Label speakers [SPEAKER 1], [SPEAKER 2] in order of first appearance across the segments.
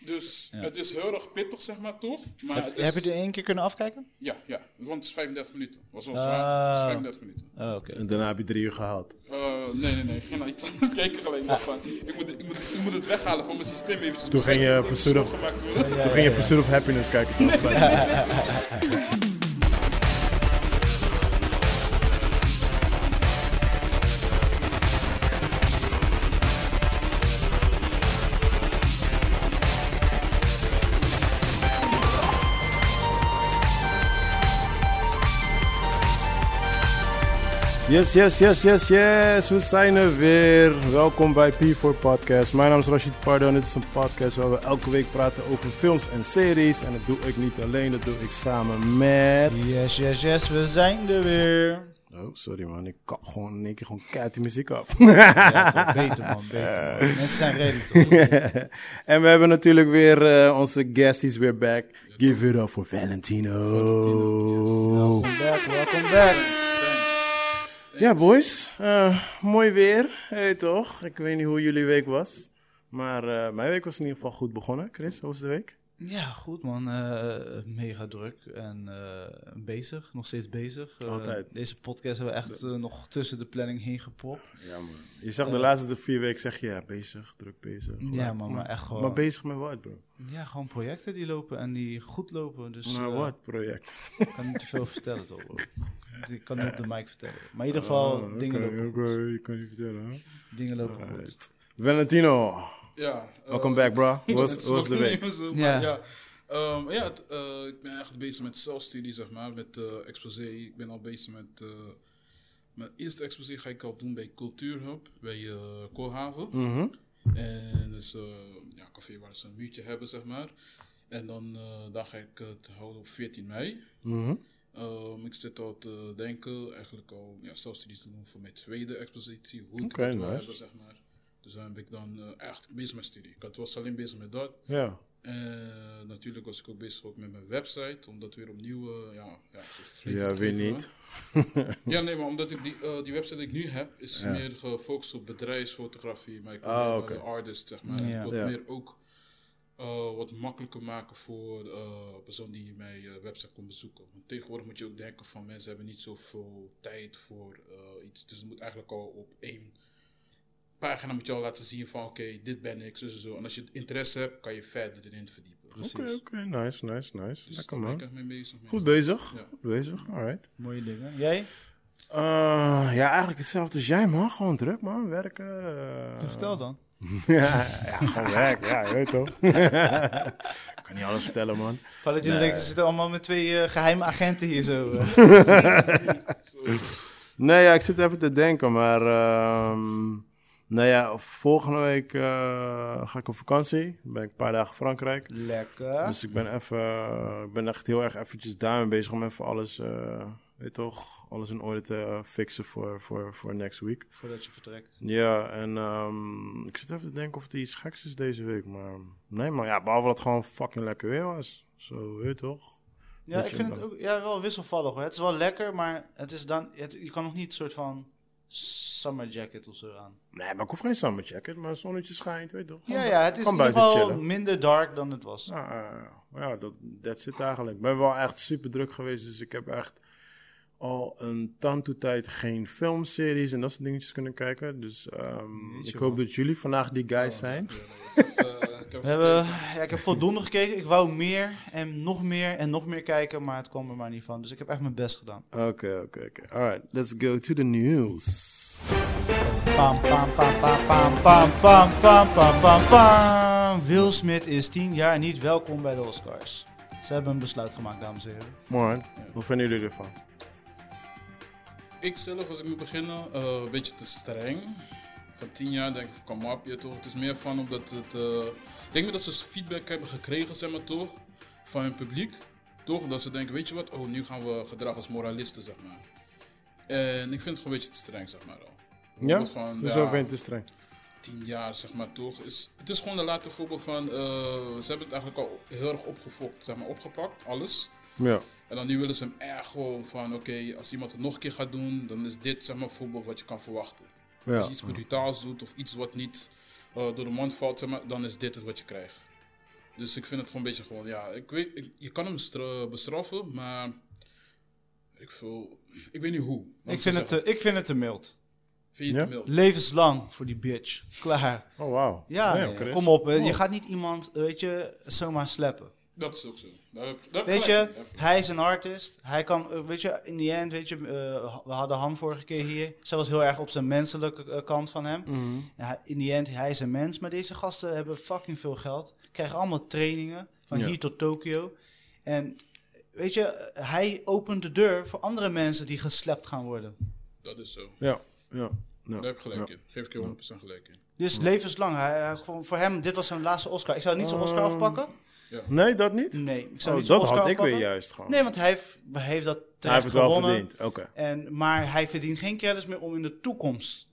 [SPEAKER 1] Dus het is heel erg pittig, zeg maar, toch? Maar
[SPEAKER 2] Heb,
[SPEAKER 1] het is-
[SPEAKER 3] dus-
[SPEAKER 2] heb je er één keer kunnen afkijken?
[SPEAKER 1] Ja, ja, want het is 35 minuten. was wel
[SPEAKER 2] Ah.
[SPEAKER 1] zwaar. Het is 35 minuten.
[SPEAKER 2] Oh, oké.
[SPEAKER 3] En daarna heb je drie uur gehaald.
[SPEAKER 1] Eh, nee, nee, nee. Ik ging naar iets anders kijken alleen. maar van, ik, moet, ik, moet, ik moet het weghalen van mijn systeem eventjes.
[SPEAKER 3] Toen ging je
[SPEAKER 1] Moet even
[SPEAKER 3] verzoenig-
[SPEAKER 1] schoongemaakt worden.
[SPEAKER 3] Toen ging je Pursuit of Happiness kijken. toch? Yes, yes, yes, yes, yes. We zijn er weer. Welkom bij P4 Podcast. Mijn naam is Rashid Pardo en dit is een podcast waar we elke week praten over films en series. En dat doe ik niet alleen, dat doe ik samen met...
[SPEAKER 2] Yes, yes, yes, we zijn er weer.
[SPEAKER 3] Oh, sorry man. Ik kap gewoon in één keer gewoon keihard die muziek af.
[SPEAKER 2] Ja, toch, beter man, beter man.
[SPEAKER 3] Eh.
[SPEAKER 2] Mensen zijn ready toch?
[SPEAKER 3] en we hebben natuurlijk weer eh, onze guest is weer back. Give it up for Valentino.
[SPEAKER 1] Valentino,
[SPEAKER 2] Welkom back, welcome back.
[SPEAKER 1] Thanks.
[SPEAKER 3] Ja, boys. Eh, mooi weer, hey, toch? Ik weet niet hoe jullie week was. Maar eh, mijn week was in ieder geval goed begonnen. Chris, hoe was de week?
[SPEAKER 2] Ja, goed man. Eh, mega druk en eh, bezig, nog steeds bezig. Eh,
[SPEAKER 3] Altijd.
[SPEAKER 2] Deze podcast hebben we echt eh, nog tussen de planning heen gepropt.
[SPEAKER 3] Ja, man. Je zag de laatste vier weken zeg je, ja, bezig, druk bezig.
[SPEAKER 2] Eh. Ja, man, maar Oh. echt gewoon.
[SPEAKER 3] Maar bezig met wat, bro?
[SPEAKER 2] Ja, gewoon projecten die lopen en die goed lopen. Dus
[SPEAKER 3] Maar
[SPEAKER 2] eh,
[SPEAKER 3] Nou, wat project?
[SPEAKER 2] ik kan niet te veel vertellen toch? bro. Want Ik kan niet op de mic vertellen. Maar in ieder geval,
[SPEAKER 3] Ah,
[SPEAKER 2] dingen
[SPEAKER 3] oké,
[SPEAKER 2] lopen
[SPEAKER 3] oké,
[SPEAKER 2] goed.
[SPEAKER 3] ik kan niet vertellen, hè?
[SPEAKER 2] Dingen lopen goed.
[SPEAKER 3] Alright. Valentino,
[SPEAKER 1] Ja. eh,
[SPEAKER 3] welkom back, bro. Hoe was-
[SPEAKER 1] het is
[SPEAKER 3] hoe was
[SPEAKER 1] nog
[SPEAKER 3] de
[SPEAKER 1] niet
[SPEAKER 3] week?
[SPEAKER 1] eens zo, maar
[SPEAKER 2] Ja.
[SPEAKER 1] ja. Ehm, ja, het, eh, ik ben echt bezig met zelfstudie, zeg maar. Met eh exposé. Ik ben al bezig met... eh, mijn eerste exposé ga ik al doen bij Cultuurhub, bij eh Koolhaven.
[SPEAKER 3] Mhm.
[SPEAKER 1] En dus eh ja, een café waar ze een muurtje hebben, zeg maar. En dan eh, daar ga ik het houden op 14 mei.
[SPEAKER 3] Mhm.
[SPEAKER 1] Ehm, ik zit al te denken, eigenlijk al ja, zelfstudies te doen voor mijn tweede expositie. Hoe ik
[SPEAKER 3] Oké,
[SPEAKER 1] het wil
[SPEAKER 3] nice.
[SPEAKER 1] hebben, zeg maar. Dus daar ben ik dan eh, echt bezig met studie. Ik had- was alleen bezig met dat.
[SPEAKER 3] Ja.
[SPEAKER 1] En natuurlijk was ik ook bezig ook met mijn website, om dat weer opnieuw... eh ja, ja, zo flink
[SPEAKER 3] Ja,
[SPEAKER 1] te
[SPEAKER 3] weer
[SPEAKER 1] geven,
[SPEAKER 3] niet.
[SPEAKER 1] hè. Ja, nee, maar omdat ik die, eh, die website die ik nu heb, is meer gefocust op bedrijfsfotografie, maar ik wil
[SPEAKER 3] Ah,
[SPEAKER 1] meer,
[SPEAKER 3] oké.
[SPEAKER 1] eh, artist, zeg maar.
[SPEAKER 2] Ja.
[SPEAKER 1] Ik wil
[SPEAKER 3] Ja.
[SPEAKER 1] het meer ook eh, wat makkelijker maken voor de persoon die mijn eh, website komt bezoeken. Want tegenwoordig moet je ook denken van mensen hebben niet zoveel tijd voor eh, iets, dus het moet eigenlijk al op één pagina moet je al laten zien van oké, dit ben ik, zo, zo, zo. En als je interesse hebt, kan je verder erin verdiepen.
[SPEAKER 3] Oké, oké, nice, nice, nice.
[SPEAKER 1] Dus
[SPEAKER 3] Lekker
[SPEAKER 1] daar ben ik
[SPEAKER 3] man.
[SPEAKER 1] echt mee bezig.
[SPEAKER 3] Goed bezig,
[SPEAKER 1] Ja.
[SPEAKER 3] goed bezig, alright.
[SPEAKER 2] Mooie dingen. Jij?
[SPEAKER 3] Eh, ja, eigenlijk hetzelfde als jij man, gewoon druk man, werken. eh.
[SPEAKER 2] Dus Vertel dan.
[SPEAKER 3] ja, ja, gewoon werk, ja, je weet toch. Ik kan niet alles vertellen man.
[SPEAKER 2] Voordat jullie denken, ze zitten allemaal met twee eh, geheime agenten hier zo. eh.
[SPEAKER 1] eh,
[SPEAKER 3] Nee, ja, ik zit even te denken, maar ehm, nou ja, volgende week eh, ga ik op vakantie. Ben ik een paar dagen in Frankrijk.
[SPEAKER 2] Lekker.
[SPEAKER 3] Dus ik ben even, ik ben echt heel erg eventjes daarmee bezig om even alles, eh, weet toch, alles in orde te eh, fixen voor, voor, voor next week.
[SPEAKER 2] Voordat je vertrekt.
[SPEAKER 3] Ja, en ehm, ik zit even te denken of er iets geks is deze week, maar nee, maar ja, behalve dat het gewoon fucking lekker weer was. Zo, weet je toch?
[SPEAKER 2] Ja,
[SPEAKER 3] Moet
[SPEAKER 2] ik
[SPEAKER 3] je
[SPEAKER 2] vind
[SPEAKER 3] dan-
[SPEAKER 2] het ook ja, wel wisselvallig hoor. Het is wel lekker, maar het is dan, het, je kan nog niet een soort van summer jacket of zo aan.
[SPEAKER 3] Nee, maar ik hoef geen summer jacket, maar het zonnetje schijnt, weet je toch?
[SPEAKER 2] Ja, ja, het is in
[SPEAKER 3] Gewoon
[SPEAKER 2] ieder
[SPEAKER 3] buiten
[SPEAKER 2] geval
[SPEAKER 3] chillen.
[SPEAKER 2] minder dark dan het was.
[SPEAKER 3] Nou, eh, ja, dat, dat zit eigenlijk. Ik ben wel echt super druk geweest, dus ik heb echt al een tantoe tijd geen filmseries en dat soort dingetjes kunnen kijken. Dus ehm,
[SPEAKER 2] Jeetje,
[SPEAKER 3] ik hoop
[SPEAKER 2] man. Oh,
[SPEAKER 3] dat jullie vandaag die guys zijn.
[SPEAKER 2] We hebben, ja, ik heb voldoende gekeken. Ik wou meer en nog meer en nog meer kijken, maar het kwam er maar niet van. Dus ik heb echt mijn best gedaan.
[SPEAKER 3] Oké, oké, oké. Alright, let's go to the news.
[SPEAKER 2] Pam, pam, pam, pam, pam, pam, pam, pam, pam, pam, pam. Will Smith is 10 jaar niet welkom bij de Oscars. Ze hebben een besluit gemaakt, dames en heren.
[SPEAKER 3] Mooi. Wat vinden jullie ervan?
[SPEAKER 1] Ik zelf, als ik moet beginnen, eh, een beetje te streng. Van tien jaar denk ik van kom op, je toch. Het is meer van omdat het. eh, ik denk dat ze feedback hebben gekregen, zeg maar toch, van hun publiek. Toch? Dat ze denken, weet je wat, oh nu gaan we gedragen als moralisten, zeg maar. En ik vind het gewoon een beetje te streng, zeg maar al.
[SPEAKER 3] Ja?
[SPEAKER 1] Omdat Van,
[SPEAKER 3] Dus
[SPEAKER 1] ja,
[SPEAKER 3] ook ben je te streng.
[SPEAKER 1] tien jaar, zeg maar toch. Is, het is gewoon een laatste voorbeeld van. eh, ze hebben het eigenlijk al heel erg opgefokt, zeg maar, opgepakt, alles.
[SPEAKER 3] Ja.
[SPEAKER 1] En dan nu willen ze hem echt gewoon van, oké, als iemand het nog een keer gaat doen, dan is dit zeg maar voorbeeld wat je kan verwachten. Als
[SPEAKER 3] Ja.
[SPEAKER 1] je iets brutaals doet of iets wat niet eh, door de mond valt, zeg maar, dan is dit het wat je krijgt. Dus ik vind het gewoon een beetje gewoon, ja, ik weet, ik- je kan hem stra- bestraffen, maar ik voel, ik weet niet hoe. Laat
[SPEAKER 2] Ik
[SPEAKER 1] zo
[SPEAKER 2] vind, het
[SPEAKER 1] zeggen.
[SPEAKER 2] te, ik vind het te mild.
[SPEAKER 1] Vind je het te mild?
[SPEAKER 2] Levenslang voor die bitch. Klaar.
[SPEAKER 3] Oh, wauw.
[SPEAKER 2] Ja,
[SPEAKER 3] Damn,
[SPEAKER 2] nee,
[SPEAKER 3] Chris.
[SPEAKER 2] kom op. hè. Je gaat niet iemand, eh, weet je, zomaar slappen.
[SPEAKER 1] Dat is ook zo. Daar heb, daar heb
[SPEAKER 2] Weet
[SPEAKER 1] gelijk
[SPEAKER 2] je,
[SPEAKER 1] in, daar heb ik-
[SPEAKER 2] hij is een artist. Hij kan, eh, weet je, in die end, weet je, eh, we hadden Han vorige keer hier. Zij was heel erg op zijn menselijke eh, kant van hem.
[SPEAKER 3] Mhm.
[SPEAKER 2] En hij- in die end, hij is een mens. Maar deze gasten hebben fucking veel geld. Krijgen allemaal trainingen, van
[SPEAKER 3] Ja.
[SPEAKER 2] hier tot Tokio. En weet je, eh, hij opent de deur voor andere mensen die geslept gaan worden.
[SPEAKER 1] Dat is zo.
[SPEAKER 3] Ja, ja. ja.
[SPEAKER 1] Daar heb ik gelijk
[SPEAKER 3] Ja.
[SPEAKER 1] in. Geef ik je 100% gelijk in.
[SPEAKER 2] Dus levenslang. Hij, hij- gewoon, voor hem, dit was zijn laatste Oscar. Ik zou niet zijn Oscar
[SPEAKER 3] Ehm,
[SPEAKER 2] afpakken.
[SPEAKER 3] Nee, dat niet?
[SPEAKER 2] Nee, ik zou
[SPEAKER 3] Oh,
[SPEAKER 2] niet zijn
[SPEAKER 3] dat
[SPEAKER 2] Oscar
[SPEAKER 3] had ik
[SPEAKER 2] afpakken.
[SPEAKER 3] weer juist gewoon.
[SPEAKER 2] Nee, want hij heeft, heeft dat terecht
[SPEAKER 3] Hij heeft het wel
[SPEAKER 2] gewonnen.
[SPEAKER 3] verdiend. Oké.
[SPEAKER 2] En, maar hij verdient geen credits meer om in de toekomst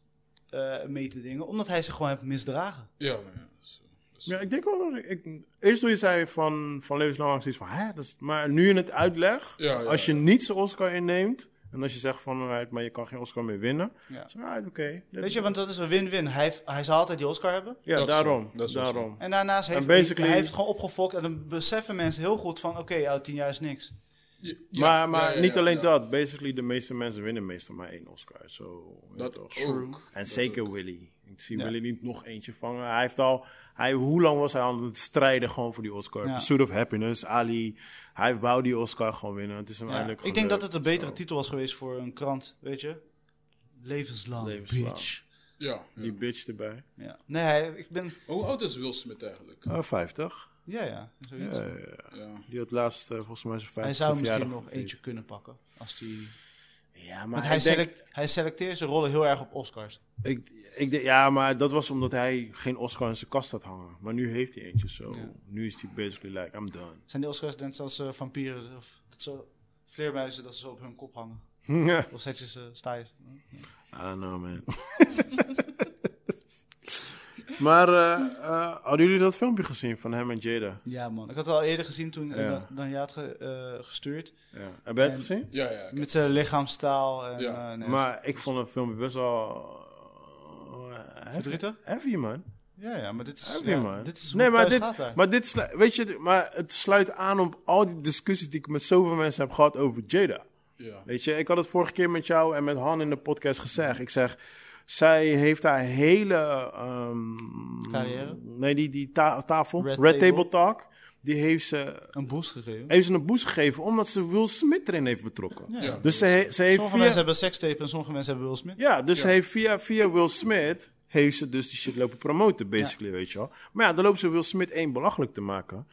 [SPEAKER 2] eh, mee te dingen, omdat hij zich gewoon heeft misdragen.
[SPEAKER 1] Ja, nou ja, dat is zo. Dat is-
[SPEAKER 3] Ja, ik denk wel dat ik, ik- Eerst toen je zei van, van levenslang acties van, hè, dat is, maar nu in het uitleg,
[SPEAKER 1] Ja, ja,
[SPEAKER 3] als je
[SPEAKER 1] ja.
[SPEAKER 3] niet zijn Oscar inneemt, en als je zegt van, alright, maar je kan geen Oscar meer winnen,
[SPEAKER 2] Ja.
[SPEAKER 3] is alright, oké. Dit-
[SPEAKER 2] Weet je, want dat is een win-win. Hij, heeft- hij zal altijd die Oscar hebben.
[SPEAKER 3] ja,
[SPEAKER 1] Dat is zo,
[SPEAKER 3] daarom,
[SPEAKER 1] dat is zo.
[SPEAKER 3] daarom.
[SPEAKER 2] En daarnaast heeft
[SPEAKER 3] En
[SPEAKER 2] hij,
[SPEAKER 3] basically-
[SPEAKER 2] hij heeft het gewoon opgefokt. En dan beseffen mensen heel goed van, oké, ja, tien jaar is niks.
[SPEAKER 1] Ja, ja,
[SPEAKER 3] maar maar
[SPEAKER 1] ja, ja,
[SPEAKER 3] niet alleen
[SPEAKER 1] ja.
[SPEAKER 3] dat, basically de meeste mensen winnen meestal maar één Oscar, zo. weet
[SPEAKER 1] Dat
[SPEAKER 3] toch.
[SPEAKER 1] ook.
[SPEAKER 3] En zeker Willy. Ik zie
[SPEAKER 2] Ja.
[SPEAKER 3] Willy niet nog eentje vangen. Hij heeft al... Hij, hoe lang was hij aan het strijden gewoon voor die Oscar?
[SPEAKER 2] Ja.
[SPEAKER 3] Pursuit of Happiness, Ali. Hij wou die Oscar gewoon winnen. Het is hem
[SPEAKER 2] Ja.
[SPEAKER 3] eindelijk
[SPEAKER 2] Ik denk dat
[SPEAKER 3] gelukt.
[SPEAKER 2] het een betere titel was geweest voor een krant, weet je. Levenslang,
[SPEAKER 3] Levenslang.
[SPEAKER 2] bitch.
[SPEAKER 1] Ja. ja.
[SPEAKER 3] Die bitch erbij.
[SPEAKER 2] Ja. Nee, hij, ik ben...
[SPEAKER 1] Maar Hoe oud is Will Smith eigenlijk?
[SPEAKER 3] Ah, 50.
[SPEAKER 2] Ja, ja, zoiets.
[SPEAKER 3] Ja, ja, ja.
[SPEAKER 1] Ja.
[SPEAKER 3] Die had laatst eh, volgens mij zijn 50
[SPEAKER 2] hij zou misschien nog eentje kunnen pakken. Als die...
[SPEAKER 3] Ja, maar
[SPEAKER 2] Want
[SPEAKER 3] hij
[SPEAKER 2] hij,
[SPEAKER 3] denk,
[SPEAKER 2] select- hij selecteert zijn rollen heel erg op Oscars.
[SPEAKER 3] ik, ik denk- Ja, maar dat was omdat hij geen Oscar in zijn kast had hangen. Maar nu heeft hij eentje, zo.
[SPEAKER 2] Ja.
[SPEAKER 3] Nu is hij basically like, I'm done.
[SPEAKER 2] Zijn die Oscars net als eh, vampieren of dat zo, vleermuizen dat ze zo op hun kop hangen?
[SPEAKER 3] I
[SPEAKER 2] Of zet je ze, sta je ze-
[SPEAKER 3] don't know, man. maar eh, eh, hadden jullie dat filmpje gezien van hem en Jada?
[SPEAKER 2] Ja man, ik had het al eerder gezien toen eh,
[SPEAKER 3] Ja.
[SPEAKER 2] dan- dan je had ge- eh, gestuurd.
[SPEAKER 3] Ja. Heb jij het
[SPEAKER 2] En-
[SPEAKER 3] gezien?
[SPEAKER 1] Ja, ja. ik heb-
[SPEAKER 2] Met zijn lichaamstaal en
[SPEAKER 1] Ja.
[SPEAKER 2] eh, nee,
[SPEAKER 3] maar ik vond het filmpje best wel... eh, heavy-
[SPEAKER 2] Verdrietig?
[SPEAKER 3] Heavy, man.
[SPEAKER 2] Ja, ja, maar dit is,
[SPEAKER 3] Oké,
[SPEAKER 2] ja,
[SPEAKER 3] man.
[SPEAKER 2] Dit is
[SPEAKER 3] nee,
[SPEAKER 2] hoe
[SPEAKER 3] maar
[SPEAKER 2] het
[SPEAKER 3] dit,
[SPEAKER 2] thuis gaat daar.
[SPEAKER 3] maar dit slu- weet je, maar het sluit aan op al die discussies die ik met zoveel mensen heb gehad over Jada.
[SPEAKER 1] Ja.
[SPEAKER 3] Weet je, ik had het vorige keer met jou en met Han in de podcast gezegd. Ik zeg, zij heeft haar hele ehm,
[SPEAKER 2] Carrière?
[SPEAKER 3] Nee, die, die ta- tafel, Red,
[SPEAKER 2] Red
[SPEAKER 3] Table.
[SPEAKER 2] Table
[SPEAKER 3] Talk, die heeft ze
[SPEAKER 2] Een boost gegeven.
[SPEAKER 3] heeft ze een boost gegeven omdat ze Will Smith erin heeft betrokken.
[SPEAKER 1] Ja.
[SPEAKER 3] Dus ze, he- ze heeft
[SPEAKER 2] Sommige
[SPEAKER 3] via-
[SPEAKER 2] mensen hebben sekstape en sommige mensen hebben Will Smith.
[SPEAKER 3] Ja, dus
[SPEAKER 1] Ja.
[SPEAKER 3] Ze heeft via, via Will Smith heeft ze dus die shit lopen promoten, basically, weet je wel. Maar ja, dan loopt ze Will Smith één belachelijk te maken.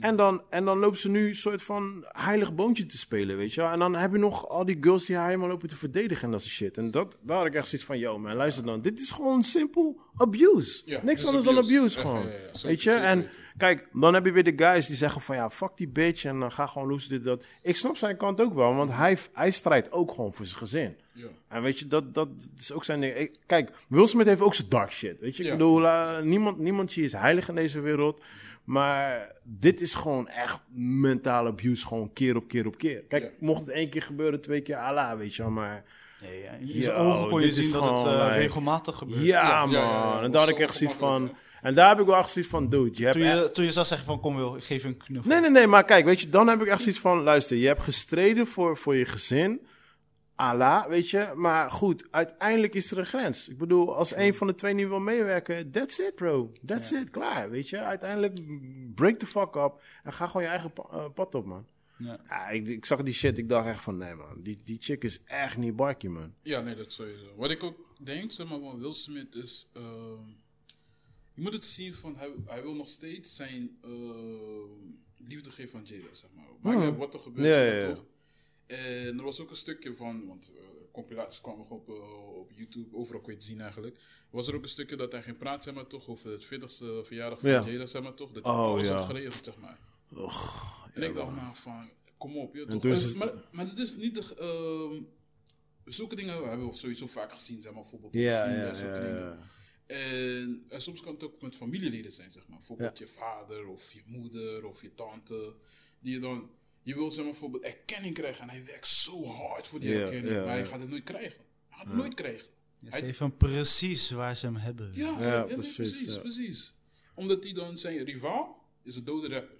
[SPEAKER 3] En dan, en dan loopt ze nu een soort van heilig boontje te spelen, weet je wel. En dan heb je nog al die girls die haar helemaal lopen te verdedigen en dat soort shit. En dat, daar had ik echt zoiets van, yo man, luister dan. Dit is gewoon simpel abuse.
[SPEAKER 1] Ja, dit
[SPEAKER 3] Niks
[SPEAKER 1] is
[SPEAKER 3] anders
[SPEAKER 1] abuse.
[SPEAKER 3] dan abuse
[SPEAKER 1] Echt,
[SPEAKER 3] gewoon.
[SPEAKER 1] ja, ja, ja. Zeker,
[SPEAKER 3] Weet je,
[SPEAKER 1] zeker
[SPEAKER 3] en
[SPEAKER 1] weten.
[SPEAKER 3] kijk, dan heb je weer de guys die zeggen van ja, fuck die bitch en dan ga gewoon loose dit, dat. Ik snap zijn kant ook wel, want hij, hij strijdt ook gewoon voor zijn gezin.
[SPEAKER 1] Ja.
[SPEAKER 3] En weet je, dat, dat is ook zijn ding. Ik- Kijk, Will Smith heeft ook zijn dark shit. Weet je, ik
[SPEAKER 1] Ja.
[SPEAKER 3] bedoel, eh, niemand, niemand hier is heilig in deze wereld. Maar dit is gewoon echt mentale abuse, gewoon keer op keer op keer. Kijk,
[SPEAKER 1] Ja.
[SPEAKER 3] mocht het één keer gebeuren, twee keer, ala, weet je wel, maar...
[SPEAKER 2] Nee, ja, in
[SPEAKER 3] Yo,
[SPEAKER 2] zijn ogen kon je
[SPEAKER 3] oh, dit is
[SPEAKER 2] zien dat het
[SPEAKER 3] gewoon,
[SPEAKER 2] eh,
[SPEAKER 3] like-
[SPEAKER 2] regelmatig
[SPEAKER 3] Ja,
[SPEAKER 2] gebeurt.
[SPEAKER 3] man,
[SPEAKER 1] ja, ja.
[SPEAKER 3] en daar had ik
[SPEAKER 1] Zo
[SPEAKER 3] echt zoiets van...
[SPEAKER 1] ongemakkelijk,
[SPEAKER 3] En daar heb ik wel echt zoiets van, dude, je hebt
[SPEAKER 2] Toen
[SPEAKER 3] echt-
[SPEAKER 2] je, toen je zou zeggen van kom Wil, ik geef je een knuffel.
[SPEAKER 3] Nee, nee, nee, maar kijk, weet je, dan heb ik echt zoiets van, luister, je hebt gestreden voor, voor je gezin, ala, weet je, maar goed, uiteindelijk is er een grens. Ik bedoel, als een van de twee niet wil meewerken, that's it, bro, that's it, klaar, weet je. Uiteindelijk, break the fuck up en ga gewoon je eigen pa- eh, pad op, man.
[SPEAKER 2] Ja.
[SPEAKER 3] Ah, ik, ik zag die shit, ik dacht echt van, nee, man, die, die chick is echt niet barkie, man.
[SPEAKER 1] Ja, nee, dat sowieso. Wat ik ook denk, zeg maar, van Will Smith is... ehm, je moet het zien van, hij, hij wil nog steeds zijn ehm, liefde geven aan Jada, zeg maar. Maar uit wat er gebeurt,
[SPEAKER 3] Hmm. Ja,
[SPEAKER 1] zeg maar,
[SPEAKER 3] ja, ja.
[SPEAKER 1] toch? En er was ook een stukje van, want eh, compilaties kwamen nog op, eh, op YouTube, overal kon je het zien eigenlijk. Was er ook een stukje dat hij ging praten, zeg maar, toch, over het 40ste verjaardag van
[SPEAKER 3] Ja.
[SPEAKER 1] Jada, zeg maar, toch. Dat hij
[SPEAKER 3] Oh,
[SPEAKER 1] alles
[SPEAKER 3] ja.
[SPEAKER 1] had geregeld, zeg maar. En ik dacht maar van, kom op, joh, toch.
[SPEAKER 3] toen is
[SPEAKER 1] Maar-
[SPEAKER 3] het-
[SPEAKER 1] maar, maar dit is niet de... g- ehm, zulke dingen hebben we sowieso vaak gezien, zeg maar, bijvoorbeeld op
[SPEAKER 3] Ja,
[SPEAKER 1] vrienden
[SPEAKER 3] ja,
[SPEAKER 1] en zulke
[SPEAKER 3] ja,
[SPEAKER 1] dingen. En, en soms kan het ook met familieleden zijn, zeg maar. Bijvoorbeeld je vader of je moeder of je tante. Die je dan... Je wil zeg maar bijvoorbeeld erkenning krijgen en hij werkt zo hard voor die
[SPEAKER 3] Ja,
[SPEAKER 1] erkenning,
[SPEAKER 3] ja,
[SPEAKER 1] maar hij
[SPEAKER 3] ja.
[SPEAKER 1] gaat het nooit krijgen. Hij gaat het nooit krijgen.
[SPEAKER 2] Ja,
[SPEAKER 1] Hij-
[SPEAKER 2] ze heeft hem precies waar ze hem hebben.
[SPEAKER 1] ja, ja,
[SPEAKER 3] Ja,
[SPEAKER 1] nee,
[SPEAKER 3] precies,
[SPEAKER 1] precies,
[SPEAKER 3] ja.
[SPEAKER 1] precies. Omdat hij dan zijn rivaal is een dode rapper.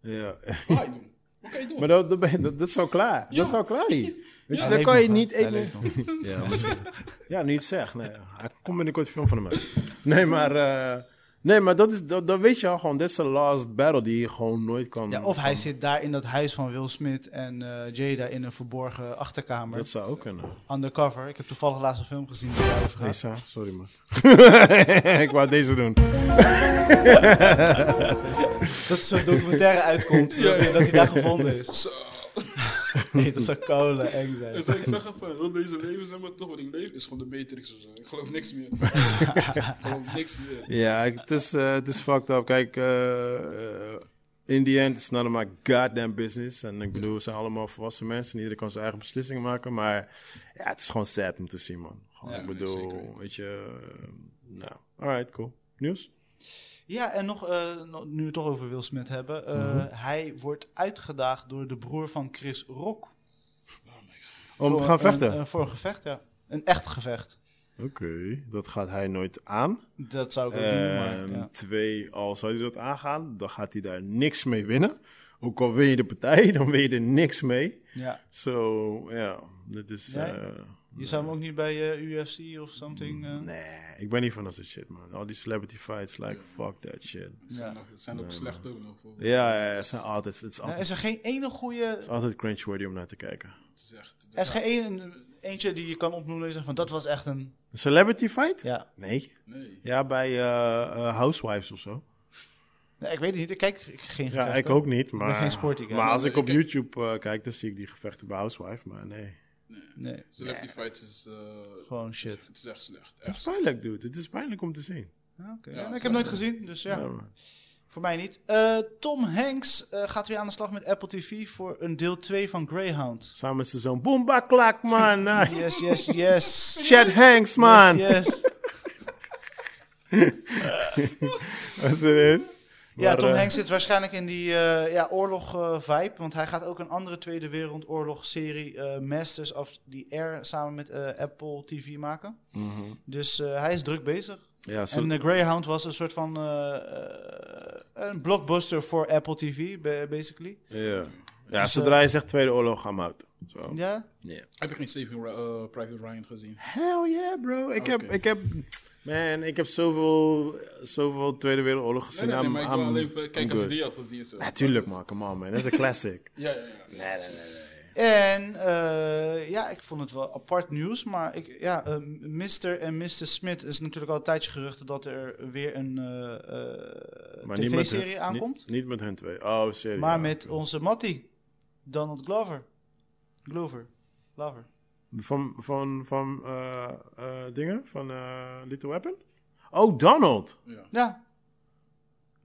[SPEAKER 3] Ja.
[SPEAKER 1] Wat ga je doen? Wat kan je doen?
[SPEAKER 3] Maar dat, dat, ben je- dat, dat is al klaar.
[SPEAKER 1] Ja.
[SPEAKER 3] Dat is al klaar hier. Weet je,
[SPEAKER 2] Hij
[SPEAKER 3] dat
[SPEAKER 2] leeft
[SPEAKER 3] kan je
[SPEAKER 2] nog,
[SPEAKER 3] niet...
[SPEAKER 2] hè?
[SPEAKER 3] Ik,
[SPEAKER 2] Hij leeft nog.
[SPEAKER 4] Ja, maar-
[SPEAKER 3] Ja, niet zeg. Nee, hij komt binnenkort een film van hem uit. Nee, maar... eh, nee, maar dat, is, dat, dat weet je al gewoon. Dit is de last battle die je gewoon nooit kan...
[SPEAKER 2] Ja, of hij zit daar in dat huis van Will Smith en eh, Jada in een verborgen achterkamer.
[SPEAKER 3] Dat zou ook kunnen.
[SPEAKER 2] Undercover. Ik heb toevallig laatst een film gezien die daarover gaat.
[SPEAKER 3] Lisa, sorry man. ik wou deze doen.
[SPEAKER 2] Dat zo'n documentaire uitkomt, dat, hij, dat hij daar gevonden is.
[SPEAKER 1] Zo.
[SPEAKER 2] Nee, dat zou kolen eng zijn.
[SPEAKER 1] En zou ik zeggen van, heel deze leven zeg maar toch, wat ik leef is gewoon de Matrix of zo. Ik geloof niks meer. gewoon niks meer.
[SPEAKER 3] Ja, ik- het is, eh, het is fucked up. Kijk, eh, eh, in the end, it's none of my goddamn business. En ik bedoel, we zijn allemaal volwassen mensen. En iedereen kan zijn eigen beslissingen maken. Maar ja, het is gewoon sad om te zien, man. Gewoon,
[SPEAKER 1] Ja,
[SPEAKER 3] ik
[SPEAKER 1] nee,
[SPEAKER 3] bedoel,
[SPEAKER 1] zeker weten.
[SPEAKER 3] weet je... eh, nou, alright, cool. Nieuws?
[SPEAKER 2] Ja, en nog, eh, nog- nu we het toch over Will Smith hebben. eh,
[SPEAKER 3] Mhm.
[SPEAKER 2] Hij wordt uitgedaagd door de broer van Chris Rock.
[SPEAKER 3] Om te
[SPEAKER 2] Voor
[SPEAKER 3] gaan
[SPEAKER 2] een-
[SPEAKER 3] vechten?
[SPEAKER 2] Een, voor een gevecht, ja. Een echt gevecht.
[SPEAKER 3] Oké, dat gaat hij nooit aan.
[SPEAKER 2] Dat zou ik ook doen, maar...
[SPEAKER 3] Ehm,
[SPEAKER 2] Ja.
[SPEAKER 3] Twee, al zou hij dat aangaan, dan gaat hij daar niks mee winnen. Ook al win je de partij, dan win je er niks mee.
[SPEAKER 2] ja.
[SPEAKER 3] Zo, ja, dit is...
[SPEAKER 2] Jij?
[SPEAKER 3] eh,
[SPEAKER 2] Je zou hem ook niet bij eh, UFC of something... eh,
[SPEAKER 3] nee, ik ben niet van dat soort shit, man. Al die celebrity fights, like, fuck that shit.
[SPEAKER 1] Het zijn, nog, het zijn ook slecht ook nog. hoor.
[SPEAKER 3] Ja, ja, ja, het, zijn altijd, het, is
[SPEAKER 2] nou,
[SPEAKER 3] altijd,
[SPEAKER 2] is er geen ene goede...
[SPEAKER 3] het is altijd cringe-worthy om naar te kijken.
[SPEAKER 1] Het is echt...
[SPEAKER 2] Er is geen ene, eentje die je kan opnoemen en zeggen van dat was echt een...
[SPEAKER 3] Een celebrity fight?
[SPEAKER 2] Ja.
[SPEAKER 3] Nee.
[SPEAKER 1] Nee.
[SPEAKER 3] Ja, bij eh, eh, Housewives of zo.
[SPEAKER 2] Nee, ik weet het niet, ik kijk geen gevechten.
[SPEAKER 3] Ja, ik ook niet,
[SPEAKER 2] ben
[SPEAKER 3] maar...
[SPEAKER 2] geen sporty guy.
[SPEAKER 3] Maar als
[SPEAKER 1] Nee,
[SPEAKER 3] ik op
[SPEAKER 1] ik-
[SPEAKER 3] YouTube eh, kijk, dan zie ik die gevechten bij Housewife, maar nee.
[SPEAKER 2] Nee,
[SPEAKER 1] Celebrity fights is... eh,
[SPEAKER 2] gewoon
[SPEAKER 1] het is-
[SPEAKER 2] shit.
[SPEAKER 1] Het is echt slecht.
[SPEAKER 3] Het
[SPEAKER 1] Echt
[SPEAKER 3] is pijnlijk, dude. Het is pijnlijk om te zien.
[SPEAKER 2] Ja, oké.
[SPEAKER 1] Ja,
[SPEAKER 2] Ja,
[SPEAKER 1] dat
[SPEAKER 2] ik
[SPEAKER 1] is
[SPEAKER 2] heb
[SPEAKER 1] wel
[SPEAKER 2] nooit gezien, dus ja.
[SPEAKER 3] Ja, man.
[SPEAKER 2] Voor mij niet. Eh, Tom Hanks eh, gaat weer aan de slag met Apple TV voor een deel 2 van Greyhound.
[SPEAKER 3] Samen met zijn zoon. Boomba klak, man. Ah,
[SPEAKER 2] Yes, yes, yes.
[SPEAKER 3] Chad Hanks, man.
[SPEAKER 2] Yes, yes.
[SPEAKER 3] Wat serieus?
[SPEAKER 2] Ja,
[SPEAKER 3] Maar,
[SPEAKER 2] Tom
[SPEAKER 3] eh,
[SPEAKER 2] Hanks zit waarschijnlijk in die eh, ja, oorlog-vibe. want hij gaat ook een andere Tweede Wereldoorlog-serie, eh, Masters of the Air, samen met eh, Apple TV maken.
[SPEAKER 3] Mhm.
[SPEAKER 2] Dus eh, hij is druk bezig.
[SPEAKER 3] Ja, zo,
[SPEAKER 2] En de Greyhound was een soort van eh, eh, een blockbuster voor Apple TV, ba- basically.
[SPEAKER 1] eh,
[SPEAKER 3] ja. ja
[SPEAKER 2] Dus,
[SPEAKER 3] zodra je zegt Tweede Oorlog, I'm out. Zo.
[SPEAKER 2] Ja,
[SPEAKER 3] Yeah.
[SPEAKER 1] Heb je geen Saving Ra- eh, Private Ryan gezien?
[SPEAKER 3] Hell yeah, bro. Ik, heb,
[SPEAKER 1] Oké.
[SPEAKER 3] ik heb... Man, ik heb zoveel, zoveel Tweede Wereldoorlog
[SPEAKER 1] Nee,
[SPEAKER 3] gezien.
[SPEAKER 1] nee, nee, maar ik wil
[SPEAKER 3] I'm-
[SPEAKER 1] alleen
[SPEAKER 3] I'm
[SPEAKER 1] even kijken als je
[SPEAKER 3] good.
[SPEAKER 1] die had gezien. Zo.
[SPEAKER 3] Natuurlijk, man. Come on, man. Dat is een classic.
[SPEAKER 1] Ja, ja, ja.
[SPEAKER 2] En eh, ja, ik vond het wel apart nieuws, maar ik, ja, eh, Mr. en Mr. Smith is natuurlijk al een tijdje geruchten dat er weer een eh, eh,
[SPEAKER 3] Maar niet met hun-
[SPEAKER 2] tv-serie aankomt.
[SPEAKER 3] Niet, niet met hun twee. Oh, serie.
[SPEAKER 2] maar
[SPEAKER 3] ja.
[SPEAKER 2] met onze Matty, Donald Glover. Glover. Glover.
[SPEAKER 3] Van, van, van eh, eh, dingen? Van eh, Little Weapon? Oh, Donald.
[SPEAKER 1] ja.
[SPEAKER 2] Ja,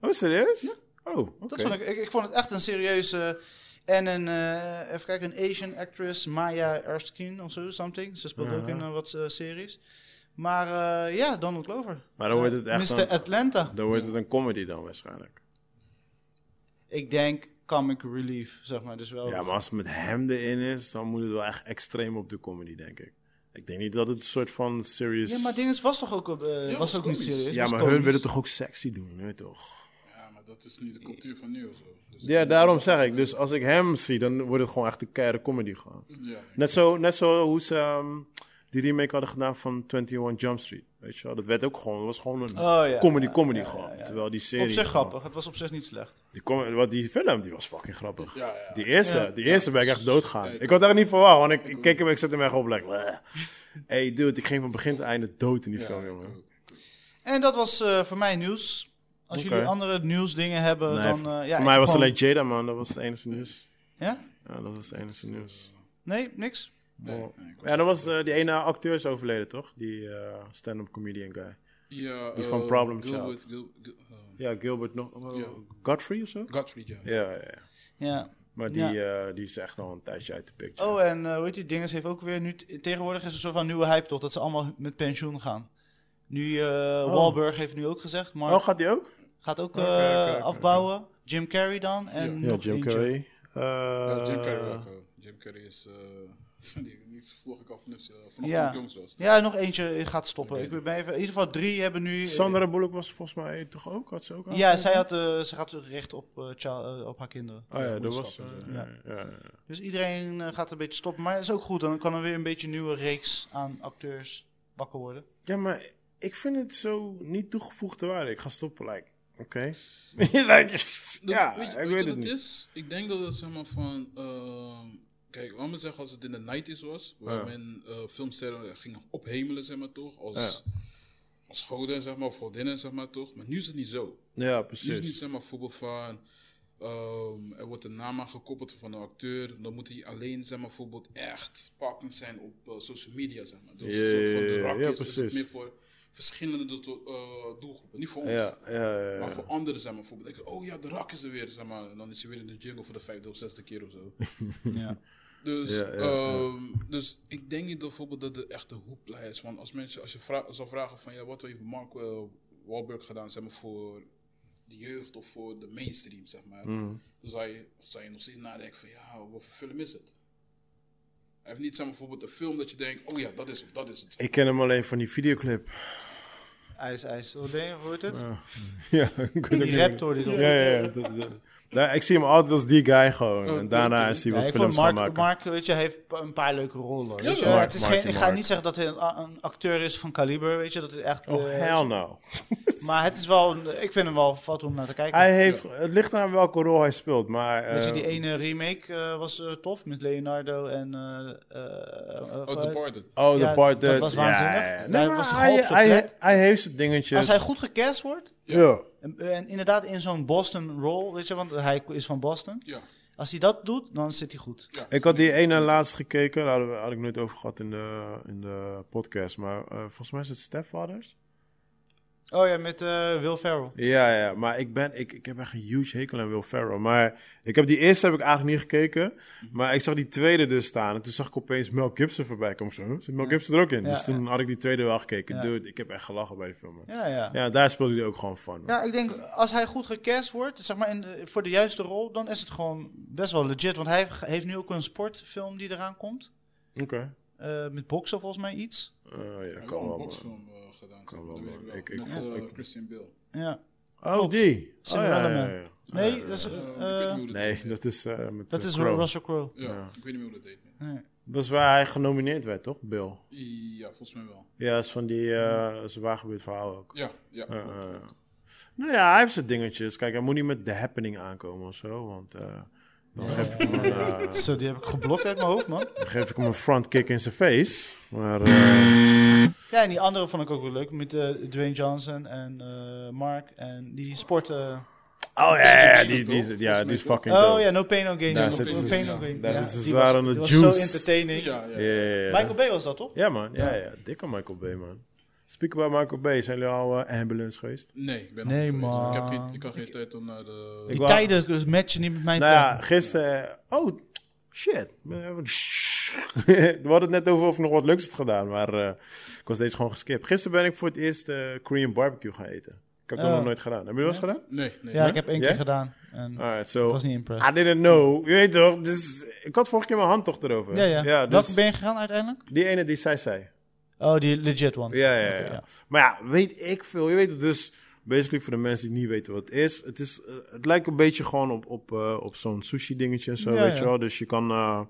[SPEAKER 3] Oh, serieus? Oh, oké.
[SPEAKER 2] dat vond ik, ik. Ik vond het echt een serieuze. En een, eh, even kijken, een Asian actress, Maya Erskine of zo, something. Ze speelt ook
[SPEAKER 3] Ja.
[SPEAKER 2] in eh, wat eh, series. Maar eh, ja, Donald Glover.
[SPEAKER 3] Maar dan wordt het echt
[SPEAKER 2] Mr.
[SPEAKER 3] een-
[SPEAKER 2] Atlanta.
[SPEAKER 3] Dan wordt het een comedy dan waarschijnlijk.
[SPEAKER 2] Ik denk comic relief, zeg maar. Dus wel.
[SPEAKER 3] Ja, maar als het met hem erin is, dan moet het wel echt extreem op de comedy, denk ik. Ik denk niet dat het een soort van serious...
[SPEAKER 2] Ja, maar Dinges was toch ook,
[SPEAKER 1] Ja,
[SPEAKER 2] eh, was
[SPEAKER 1] was
[SPEAKER 2] ook niet
[SPEAKER 1] komisch.
[SPEAKER 2] serieus?
[SPEAKER 3] Ja,
[SPEAKER 2] was
[SPEAKER 3] maar
[SPEAKER 2] komisch.
[SPEAKER 3] hun willen toch ook sexy doen, weet je toch?
[SPEAKER 1] Ja, maar dat is niet de cultuur van nu of zo. Dus
[SPEAKER 3] Ja, daarom zeg ik. Dus als ik hem zie, dan wordt het gewoon echt een keiharde comedy gewoon.
[SPEAKER 1] Ja.
[SPEAKER 3] Net zo, net zo hoe ze ehm, die remake hadden gedaan van 21 Jump Street, weet je wel. Dat werd ook gewoon, dat was gewoon een
[SPEAKER 2] Oh, ja, ja,
[SPEAKER 3] comedy-comedy
[SPEAKER 2] ja, ja,
[SPEAKER 3] gewoon.
[SPEAKER 2] ja.
[SPEAKER 3] Terwijl die serie...
[SPEAKER 2] Op zich
[SPEAKER 3] gewoon-
[SPEAKER 2] grappig. Het was op zich niet slecht.
[SPEAKER 3] Die, com- wat die film, die was fucking grappig.
[SPEAKER 1] Ja, ja.
[SPEAKER 3] Die eerste,
[SPEAKER 2] Ja.
[SPEAKER 3] die eerste ben ik echt doodgaan.
[SPEAKER 1] Ja, ik
[SPEAKER 3] ik had echt niet verwacht, want ik, ik keek hem en ik zette hem echt op. Like, bleh. hey dude, ik ging van begin tot einde dood in die film, jongen.
[SPEAKER 2] En dat was eh, voor mij nieuws. Als
[SPEAKER 3] Oké.
[SPEAKER 2] jullie andere nieuwsdingen hebben,
[SPEAKER 3] Nee,
[SPEAKER 2] dan... eh ja,
[SPEAKER 3] voor
[SPEAKER 2] ik
[SPEAKER 3] mij was het
[SPEAKER 2] gewoon-
[SPEAKER 3] alleen Jada, man. Dat was het enige nieuws.
[SPEAKER 2] Ja?
[SPEAKER 3] Ja, dat was het enige nieuws.
[SPEAKER 2] Nee, niks?
[SPEAKER 1] Nee, nee, ik was-
[SPEAKER 3] Ja, dat was eh, die ene acteur is overleden, toch? Die eh, stand-up comedian guy.
[SPEAKER 1] Ja,
[SPEAKER 3] Die
[SPEAKER 1] eh,
[SPEAKER 3] van Problem
[SPEAKER 1] Gilbert, Gil, Gil, eh,
[SPEAKER 3] Ja, Gilbert nog... eh,
[SPEAKER 1] Ja.
[SPEAKER 3] Godfrey of zo?
[SPEAKER 1] Godfrey, ja.
[SPEAKER 3] Ja, ja, ja.
[SPEAKER 2] Ja.
[SPEAKER 3] Maar die, eh, die is echt al een tijdje uit de picture.
[SPEAKER 2] Oh, en eh hoe heet die dinges heeft ook weer nu... t- Tegenwoordig is er een soort van nieuwe hype toch, dat ze allemaal met pensioen gaan. Nu, eh Wahlberg heeft nu ook gezegd,
[SPEAKER 3] Oh,
[SPEAKER 2] maar
[SPEAKER 3] gaat die ook?
[SPEAKER 2] gaat ook
[SPEAKER 3] Oh. Oké,
[SPEAKER 2] eh,
[SPEAKER 3] oké, oké,
[SPEAKER 2] afbouwen. Jim Carrey dan en
[SPEAKER 1] Ja.
[SPEAKER 2] nog eentje.
[SPEAKER 3] Carrey.
[SPEAKER 1] Ja, Jim
[SPEAKER 3] Eh,
[SPEAKER 1] Carrey ook. eh, Jim Carrey is... eh, Die, die volg ik al vanaf, vanaf toen
[SPEAKER 2] Ja.
[SPEAKER 1] ik jongs was.
[SPEAKER 2] Ja, nog eentje eh, gaat stoppen. Ik ben even, in ieder geval drie hebben nu... eh,
[SPEAKER 3] Sandra Bullock was volgens mij toch ook? Had ze ook
[SPEAKER 2] Ja,
[SPEAKER 3] aangegeven?
[SPEAKER 2] zij had, eh, ze gaat recht op, eh, child- eh, op haar kinderen.
[SPEAKER 3] Oh ja, dat was...
[SPEAKER 1] moederschap en
[SPEAKER 3] eh,
[SPEAKER 2] zo.
[SPEAKER 3] ja, ja, ja.
[SPEAKER 2] Dus iedereen eh, gaat een beetje stoppen. Maar dat is ook goed, dan kan er weer een beetje een nieuwe reeks aan acteurs wakker worden.
[SPEAKER 3] Ja, maar ik vind het zo niet toegevoegde waarde. Ik ga stoppen, like. Oké. Like,
[SPEAKER 1] Dat-
[SPEAKER 3] ja,
[SPEAKER 1] weet je,
[SPEAKER 3] ik
[SPEAKER 1] weet je
[SPEAKER 3] weet
[SPEAKER 1] wat
[SPEAKER 3] het
[SPEAKER 1] het
[SPEAKER 3] niet.
[SPEAKER 1] is? Ik denk dat het zeg maar van. ehm, kijk, laat me zeggen, als het in de 90s was, waar
[SPEAKER 3] Ja.
[SPEAKER 1] men eh, filmsterren ging ophemelen, zeg maar toch? Als, als goden, zeg maar, of godinnen, zeg maar toch? Maar nu is het niet zo.
[SPEAKER 3] Ja,
[SPEAKER 1] Nu is het niet
[SPEAKER 3] precies.
[SPEAKER 1] zeg maar voorbeeld van. ehm, er wordt een naam aan gekoppeld van een acteur. Dan moet hij alleen zeg maar, bijvoorbeeld echt pakkend zijn op eh, social media. Zeg maar. Dus
[SPEAKER 3] Ja,
[SPEAKER 1] een soort van
[SPEAKER 3] ja,
[SPEAKER 1] de
[SPEAKER 3] ja,
[SPEAKER 1] rak
[SPEAKER 3] ja,
[SPEAKER 1] is, is het
[SPEAKER 3] precies.
[SPEAKER 1] meer voor verschillende do- eh, doelgroepen. Niet voor ons.
[SPEAKER 3] Ja, ja, ja, ja.
[SPEAKER 1] Maar voor anderen zijn bijvoorbeeld, denk ik, oh ja, de rak is er weer, zeg maar. En dan is hij weer in de jungle voor de vijfde of zesde keer of zo.
[SPEAKER 2] Ja.
[SPEAKER 1] Dus,
[SPEAKER 3] Ja, ja, ja.
[SPEAKER 1] ehm, dus ik denk niet dat bijvoorbeeld dat het echt een hoepla is. Want als mensen, als je vra- zou vragen van, ja, wat heeft Mark eh, Wahlberg gedaan, zeg maar, voor de jeugd of voor de mainstream, zeg maar.
[SPEAKER 3] Mm.
[SPEAKER 1] Dan zou je, zou je nog steeds nadenken van, ja, wat voor film is het? Hij heeft niet, zeg maar, bijvoorbeeld een film dat je denkt, oh ja, dat is het, dat is het.
[SPEAKER 3] Ik ken hem alleen van die videoclip.
[SPEAKER 2] IJs, ijs. Hoe denk je, hoe heet het?
[SPEAKER 3] ja, ik weet ook
[SPEAKER 2] Die
[SPEAKER 3] niet
[SPEAKER 2] rap
[SPEAKER 3] meer.
[SPEAKER 2] door die
[SPEAKER 3] Ja, ja, ja. dat- dat- Nou, ik zie hem altijd als die guy gewoon.
[SPEAKER 1] Oh,
[SPEAKER 3] en daarna
[SPEAKER 1] tuurlijk.
[SPEAKER 3] is hij
[SPEAKER 2] Ja,
[SPEAKER 3] wat
[SPEAKER 2] ik vond
[SPEAKER 3] films gaan
[SPEAKER 2] Mark,
[SPEAKER 3] maken.
[SPEAKER 2] Mark weet je, hij heeft pa- een paar leuke rollen. weet je.
[SPEAKER 1] Mark,
[SPEAKER 2] het is
[SPEAKER 3] Mark,
[SPEAKER 2] geen, ik ga
[SPEAKER 3] Mark.
[SPEAKER 2] niet zeggen dat hij een, a- een acteur is van kaliber, weet je. Dat is echt,
[SPEAKER 3] Oh,
[SPEAKER 2] eh,
[SPEAKER 3] hell no.
[SPEAKER 2] Maar het is wel, een- ik vind hem wel fout om naar te kijken.
[SPEAKER 3] Hij heeft, het ligt aan welke rol hij speelt, maar...
[SPEAKER 2] weet je,
[SPEAKER 3] eh,
[SPEAKER 2] die ene remake eh, was eh, tof met Leonardo en... eh, eh, eh,
[SPEAKER 1] Oh,
[SPEAKER 2] of, eh,
[SPEAKER 1] Departed.
[SPEAKER 3] Oh, de
[SPEAKER 2] Ja,
[SPEAKER 3] part
[SPEAKER 2] dat
[SPEAKER 3] that-
[SPEAKER 2] was
[SPEAKER 3] ja,
[SPEAKER 2] waanzinnig.
[SPEAKER 3] ja, ja.
[SPEAKER 2] Hij
[SPEAKER 3] Nee,
[SPEAKER 2] was
[SPEAKER 3] maar
[SPEAKER 2] gewoon
[SPEAKER 3] hij-
[SPEAKER 2] op zijn
[SPEAKER 3] hij-
[SPEAKER 2] plek.
[SPEAKER 3] Hij heeft zijn dingetjes.
[SPEAKER 2] als hij goed gecast wordt,
[SPEAKER 3] Ja.
[SPEAKER 2] en, en inderdaad in zo'n Boston rol, weet je, want hij is van Boston.
[SPEAKER 1] Ja,
[SPEAKER 2] Als hij dat doet, dan zit hij goed.
[SPEAKER 1] ja.
[SPEAKER 3] Ik had die ene laatst gekeken, daar hadden we- had ik nooit over gehad in de, in de podcast, maar eh, volgens mij is het Stepfathers.
[SPEAKER 2] Oh ja, met eh, Will Ferrell.
[SPEAKER 3] Ja, ja, maar ik, ben, ik, ik heb echt een huge hekel aan Will Ferrell. Maar ik heb die eerste heb ik eigenlijk niet gekeken,
[SPEAKER 2] Mhm.
[SPEAKER 3] maar ik zag die tweede dus staan en toen zag ik opeens Mel Gibson voorbij komen. Zo, huh? zit Mel Gibson er ook in?
[SPEAKER 2] Ja,
[SPEAKER 3] dus toen had ik die tweede wel gekeken.
[SPEAKER 2] Ja.
[SPEAKER 3] Dude, ik heb echt gelachen bij die film. man.
[SPEAKER 2] Ja, ja.
[SPEAKER 3] Ja, daar speelde hij ook gewoon van.
[SPEAKER 2] Ja, ik denk als hij goed gecast wordt, zeg maar in de- voor de juiste rol, dan is het gewoon best wel legit. Want hij ge- heeft nu ook een sportfilm die eraan komt.
[SPEAKER 3] Oké.
[SPEAKER 2] Eh, met boksen volgens mij iets.
[SPEAKER 3] Eh, ja,
[SPEAKER 1] Ik heb
[SPEAKER 3] kan
[SPEAKER 1] ook een
[SPEAKER 3] wel. man.
[SPEAKER 1] boxfilm eh, gedaan, zeg maar.
[SPEAKER 3] wel,
[SPEAKER 1] dat weet ik
[SPEAKER 3] man.
[SPEAKER 1] wel.
[SPEAKER 3] Ik- ik-
[SPEAKER 1] Met eh,
[SPEAKER 3] ik-
[SPEAKER 1] Christian Bale.
[SPEAKER 2] Ja.
[SPEAKER 3] Oh, die. Oh,
[SPEAKER 2] Cinderella
[SPEAKER 3] ja, ja,
[SPEAKER 2] Man.
[SPEAKER 3] ja, ja.
[SPEAKER 2] Nee, dat is,
[SPEAKER 1] Eh, ik
[SPEAKER 2] eh,
[SPEAKER 1] weet niet hoe
[SPEAKER 3] Nee,
[SPEAKER 1] heet.
[SPEAKER 3] dat is eh, met
[SPEAKER 2] dat
[SPEAKER 3] eh,
[SPEAKER 2] is
[SPEAKER 3] Crow.
[SPEAKER 2] Russell Crowe.
[SPEAKER 1] Ja,
[SPEAKER 3] ja.
[SPEAKER 1] ik weet niet meer hoe dat heet. man.
[SPEAKER 2] Nee.
[SPEAKER 3] Dat is waar hij genomineerd werd, toch? Bill.
[SPEAKER 1] I- Ja, volgens mij wel.
[SPEAKER 3] Ja, dat is van die eh is een waargebeurd verhaal ook.
[SPEAKER 1] Ja, ja.
[SPEAKER 3] Eh, eh. nou ja, hij heeft zijn dingetjes. Kijk, hij moet niet met The Happening aankomen of zo, want eh, dan, geef ik hem een, eh,
[SPEAKER 1] Ah.
[SPEAKER 2] Zo, die heb ik geblokt uit mijn hoofd, man.
[SPEAKER 3] dan geef ik hem een front kick in zijn face. Maar eh,
[SPEAKER 2] Ja, en die andere vond ik ook wel leuk. Met eh, Dwayne Johnson en eh, Mark. En die sport... eh,
[SPEAKER 3] oh ja, ja, ja,
[SPEAKER 1] Bane
[SPEAKER 3] die,
[SPEAKER 1] toch?
[SPEAKER 3] die, is- ja,
[SPEAKER 1] Volgens
[SPEAKER 3] die is
[SPEAKER 1] mij
[SPEAKER 3] fucking
[SPEAKER 2] Oh
[SPEAKER 3] dope.
[SPEAKER 2] ja, No Pain No Gain.
[SPEAKER 3] Daar
[SPEAKER 2] ja, no
[SPEAKER 3] zit
[SPEAKER 2] pain,
[SPEAKER 3] ze-
[SPEAKER 2] no gain.
[SPEAKER 3] daar
[SPEAKER 2] Ja,
[SPEAKER 3] zit ze
[SPEAKER 2] die
[SPEAKER 3] zwaar
[SPEAKER 2] was,
[SPEAKER 3] aan de
[SPEAKER 2] die was
[SPEAKER 3] juice.
[SPEAKER 2] zo entertaining.
[SPEAKER 1] ja, ja.
[SPEAKER 3] Ja, ja, ja.
[SPEAKER 2] Michael Bay was dat, toch?
[SPEAKER 3] Ja, man. Ja, ja. Dikke Michael Bay, man. Speak about Michael Bay. Zijn jullie al eh, ambulance geweest?
[SPEAKER 1] Nee, ik ben
[SPEAKER 2] Nee,
[SPEAKER 1] nog niet geweest.
[SPEAKER 2] man.
[SPEAKER 1] Ik, heb geen, ik had geen tijd om naar de...
[SPEAKER 3] Ik
[SPEAKER 2] Die
[SPEAKER 3] wou-
[SPEAKER 2] tijden dus matchen niet met mijn
[SPEAKER 3] Nou ja,
[SPEAKER 2] tijd.
[SPEAKER 3] gisteren. Oh, shit. We hadden het net over of ik nog wat leuks had gedaan, maar eh, ik was deze gewoon geskipt. Gisteren ben ik voor het eerst eh, Korean barbecue gaan eten. Ik heb dat
[SPEAKER 2] Oh.
[SPEAKER 3] nog nooit gedaan. Heb je dat eens gedaan?
[SPEAKER 1] Nee, nee.
[SPEAKER 2] Ja, ik heb één
[SPEAKER 3] Ja?
[SPEAKER 2] keer gedaan. En ik
[SPEAKER 3] Alright, so.
[SPEAKER 2] was niet
[SPEAKER 3] I
[SPEAKER 2] impressed.
[SPEAKER 3] didn't know. Je weet toch? Dus, ik had vorige keer mijn handtocht erover.
[SPEAKER 2] Ja, ja.
[SPEAKER 3] ja dus
[SPEAKER 2] Welke ben je gegaan uiteindelijk?
[SPEAKER 3] Die ene die zij zei.
[SPEAKER 2] Oh, die legit one.
[SPEAKER 3] Ja, ja, ja.
[SPEAKER 2] Oké, ja.
[SPEAKER 3] Maar ja, weet ik veel. Je weet het dus. Basically, voor de mensen die niet weten wat het is. Het, is, eh, het lijkt een beetje gewoon op, op, eh, op zo'n sushi dingetje en zo,
[SPEAKER 2] Ja,
[SPEAKER 3] weet
[SPEAKER 2] ja.
[SPEAKER 3] je wel. Dus je kan... eh,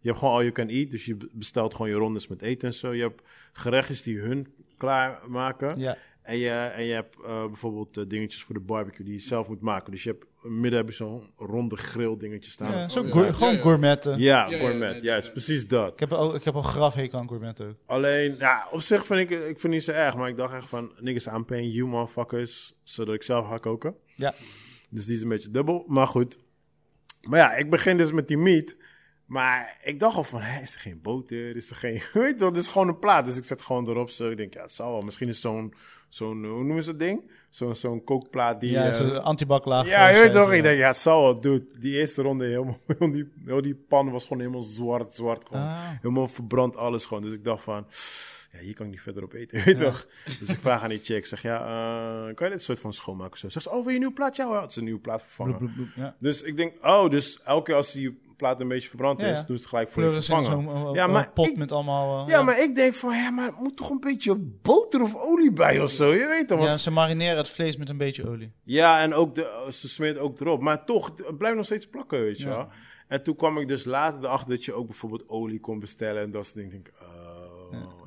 [SPEAKER 3] je hebt gewoon all you can eat. Dus je b- bestelt gewoon je rondes met eten en zo. Je hebt gerechtjes die hun klaarmaken.
[SPEAKER 2] Ja.
[SPEAKER 3] En, je, en je hebt eh, bijvoorbeeld eh, dingetjes voor de barbecue die je zelf moet maken. Dus je hebt... in het Midden heb je zo'n ronde grill dingetje staan.
[SPEAKER 2] Ja,
[SPEAKER 3] Ja,
[SPEAKER 2] zo
[SPEAKER 1] Oh, ja.
[SPEAKER 2] gour-
[SPEAKER 1] Ja,
[SPEAKER 2] gewoon
[SPEAKER 1] ja.
[SPEAKER 2] gourmetten.
[SPEAKER 3] ja,
[SPEAKER 1] ja,
[SPEAKER 3] gourmet.
[SPEAKER 1] nee, nee,
[SPEAKER 3] Juist,
[SPEAKER 1] nee.
[SPEAKER 3] precies dat.
[SPEAKER 2] Ik heb, ook, ik heb een graf hekel aan gourmetten ook.
[SPEAKER 3] Alleen, ja, op zich vind ik, ik vind niet zo erg. Maar ik dacht echt van, niggas, I'm paying you motherfuckers. Zodat ik zelf ga koken.
[SPEAKER 2] Ja.
[SPEAKER 3] Dus die is een beetje dubbel. Maar goed. Maar ja, ik begin dus met die meat. Maar ik dacht al van, hé, is er geen boter? Is er geen... Weet je wel, het is gewoon een plaat. Dus ik zet gewoon erop. Zo, ik denk, ja, het zal wel. Misschien is zo'n, zo'n hoe noemen ze dat ding? Zo, zo'n kookplaat die...
[SPEAKER 2] Ja,
[SPEAKER 3] eh,
[SPEAKER 2] zo'n antibaklaag.
[SPEAKER 3] ja, je
[SPEAKER 2] eh, zijn
[SPEAKER 3] weet toch?
[SPEAKER 2] ze-
[SPEAKER 3] Ik denk, ja, het zal wel, dude. Die eerste ronde, helemaal, heel die, heel die pan was gewoon helemaal zwart, zwart. Gewoon.
[SPEAKER 2] Ah.
[SPEAKER 3] Helemaal verbrand alles gewoon. Dus ik dacht van, ja, hier kan ik niet verder op eten, weet je toch? Dus ik vraag aan die chick, zeg, ja, eh, kan je dit soort van schoonmaken? Zo, zegt ze, oh, wil je een nieuwe plaat? Ja, hoor. Had ze een nieuwe plaat vervangen.
[SPEAKER 2] Bloep, bloep, bloep, ja.
[SPEAKER 3] Dus ik denk, oh, dus elke keer als die plaat een beetje verbrand
[SPEAKER 2] Ja,
[SPEAKER 3] is,
[SPEAKER 2] ja.
[SPEAKER 3] doen ze het gelijk voor je
[SPEAKER 2] Kleuren in
[SPEAKER 3] vervangen.
[SPEAKER 2] zo'n eh,
[SPEAKER 3] Ja,
[SPEAKER 2] eh,
[SPEAKER 3] maar
[SPEAKER 2] pot
[SPEAKER 3] ik-
[SPEAKER 2] met allemaal... eh,
[SPEAKER 3] Ja, maar ik denk van, ja, maar er moet toch een beetje boter of olie bij of zo, je weet toch?
[SPEAKER 2] ja,
[SPEAKER 3] want-
[SPEAKER 2] ze marineren het vlees met een beetje olie.
[SPEAKER 3] Ja, en ook de, oh, ze smeert ook erop. Maar toch, het blijft nog steeds plakken, weet je
[SPEAKER 2] Ja.
[SPEAKER 3] wel. En toen kwam ik dus later erachter dat je ook bijvoorbeeld olie kon bestellen en dat soort dingen. Ik Denk, oh.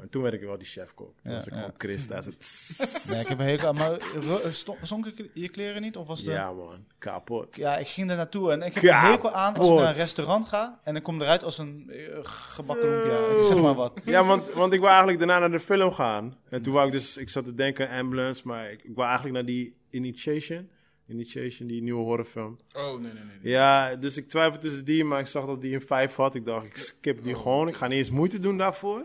[SPEAKER 3] En toen werd ik wel die chefkok. Toen
[SPEAKER 2] Ja,
[SPEAKER 3] was ik
[SPEAKER 2] ja.
[SPEAKER 3] gewoon Chris daar. Zo, tss.
[SPEAKER 2] Nee, ik heb een hekel aan. Maar ro- eh, ston- zonken je kleren niet? Of was de...
[SPEAKER 3] ja man, kapot.
[SPEAKER 2] Ja, ik ging daar naartoe en ik heb een
[SPEAKER 3] Kapot.
[SPEAKER 2] hekel aan als ik naar een restaurant ga en dan kom ik eruit als een eh, gebakken lumpia. Ik zeg maar wat.
[SPEAKER 3] Ja, want, want ik wou eigenlijk daarna naar de film gaan. En toen wou ik dus, ik zat te denken ambulance, maar ik, ik wou eigenlijk naar die Initiation. Initiation, die nieuwe horrorfilm.
[SPEAKER 1] Oh, nee, nee, nee. nee.
[SPEAKER 3] Ja, dus ik twijfel tussen die, maar ik zag dat die een 5 had. Ik dacht, ik skip
[SPEAKER 2] Oh.
[SPEAKER 3] die gewoon. Ik ga niet eens moeite doen daarvoor.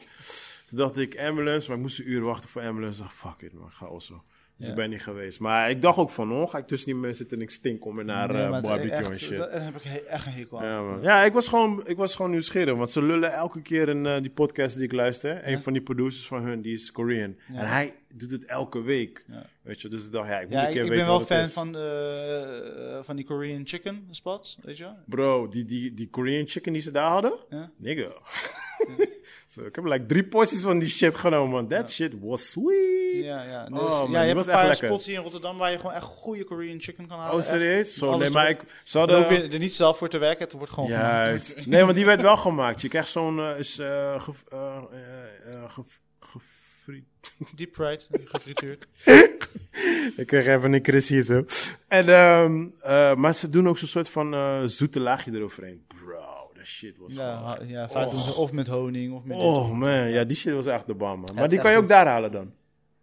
[SPEAKER 3] Toen dacht ik ambulance, maar ik moest een uur wachten voor ambulance. Ik dacht, fuck it, man, ik ga also. Dus
[SPEAKER 2] Ja.
[SPEAKER 3] ik ben niet geweest. Maar ik dacht ook van, oh, ga ik tussen die mensen zitten en ik stink om en naar
[SPEAKER 2] Nee,
[SPEAKER 3] eh,
[SPEAKER 2] maar het-
[SPEAKER 3] barbecue
[SPEAKER 2] echt,
[SPEAKER 3] en shit.
[SPEAKER 2] dat- Daar heb ik he- echt een hekel aan.
[SPEAKER 3] Ja, man. ja ik, was gewoon, ik was gewoon nieuwsgierig. Want ze lullen elke keer in eh, die podcast die ik luister. Een van die producers van hun, die is Korean. En hij doet het elke week.
[SPEAKER 2] Ja.
[SPEAKER 3] Weet je, dus ik dacht, ja, ik moet
[SPEAKER 2] Ja,
[SPEAKER 3] een
[SPEAKER 2] ik,
[SPEAKER 3] keer
[SPEAKER 2] ik ben
[SPEAKER 3] weten
[SPEAKER 2] wel
[SPEAKER 3] wat het
[SPEAKER 2] fan
[SPEAKER 3] is.
[SPEAKER 2] van, eh, van die Korean chicken spots, weet je wel?
[SPEAKER 3] Bro, die, die, die Korean chicken die ze daar hadden?
[SPEAKER 2] Ja.
[SPEAKER 3] Nigga. Zo, ik heb like drie porties van die shit genomen. man. That shit was sweet.
[SPEAKER 2] Ja, ja.
[SPEAKER 3] Oh,
[SPEAKER 2] Dus,
[SPEAKER 3] man, die
[SPEAKER 2] ja, je
[SPEAKER 3] was
[SPEAKER 2] hebt een
[SPEAKER 3] echt
[SPEAKER 2] paar
[SPEAKER 3] lekker.
[SPEAKER 2] spots hier in Rotterdam waar je gewoon echt goede Korean chicken kan halen.
[SPEAKER 3] Oh,
[SPEAKER 2] Echt.
[SPEAKER 3] serieus? Zo,
[SPEAKER 2] alles
[SPEAKER 3] nee, maar
[SPEAKER 2] erop.
[SPEAKER 3] ik... Ze
[SPEAKER 2] Dan hoef
[SPEAKER 3] hadden...
[SPEAKER 2] je er niet zelf voor te werken, het wordt gewoon gemaakt.
[SPEAKER 3] Juist. Nee, want die werd wel gemaakt. Je krijgt zo'n... eh, is, eh, ge- eh, eh, eh, ge- gefriet-
[SPEAKER 2] Deep fried, gefrituurd.
[SPEAKER 3] Ik kreeg even een Chris hier zo. En, ehm, eh, maar ze doen ook zo'n soort van eh, zoete laagje eroverheen. Bro, that shit was
[SPEAKER 2] Ja,
[SPEAKER 3] gewoon-
[SPEAKER 2] ha- ja vaak doen ze of met honing of met dit.
[SPEAKER 3] Oh man, ja, die shit was echt de bom, man. Maar
[SPEAKER 2] is
[SPEAKER 3] die
[SPEAKER 2] echt
[SPEAKER 3] kan je ook
[SPEAKER 2] goed.
[SPEAKER 3] daar halen dan.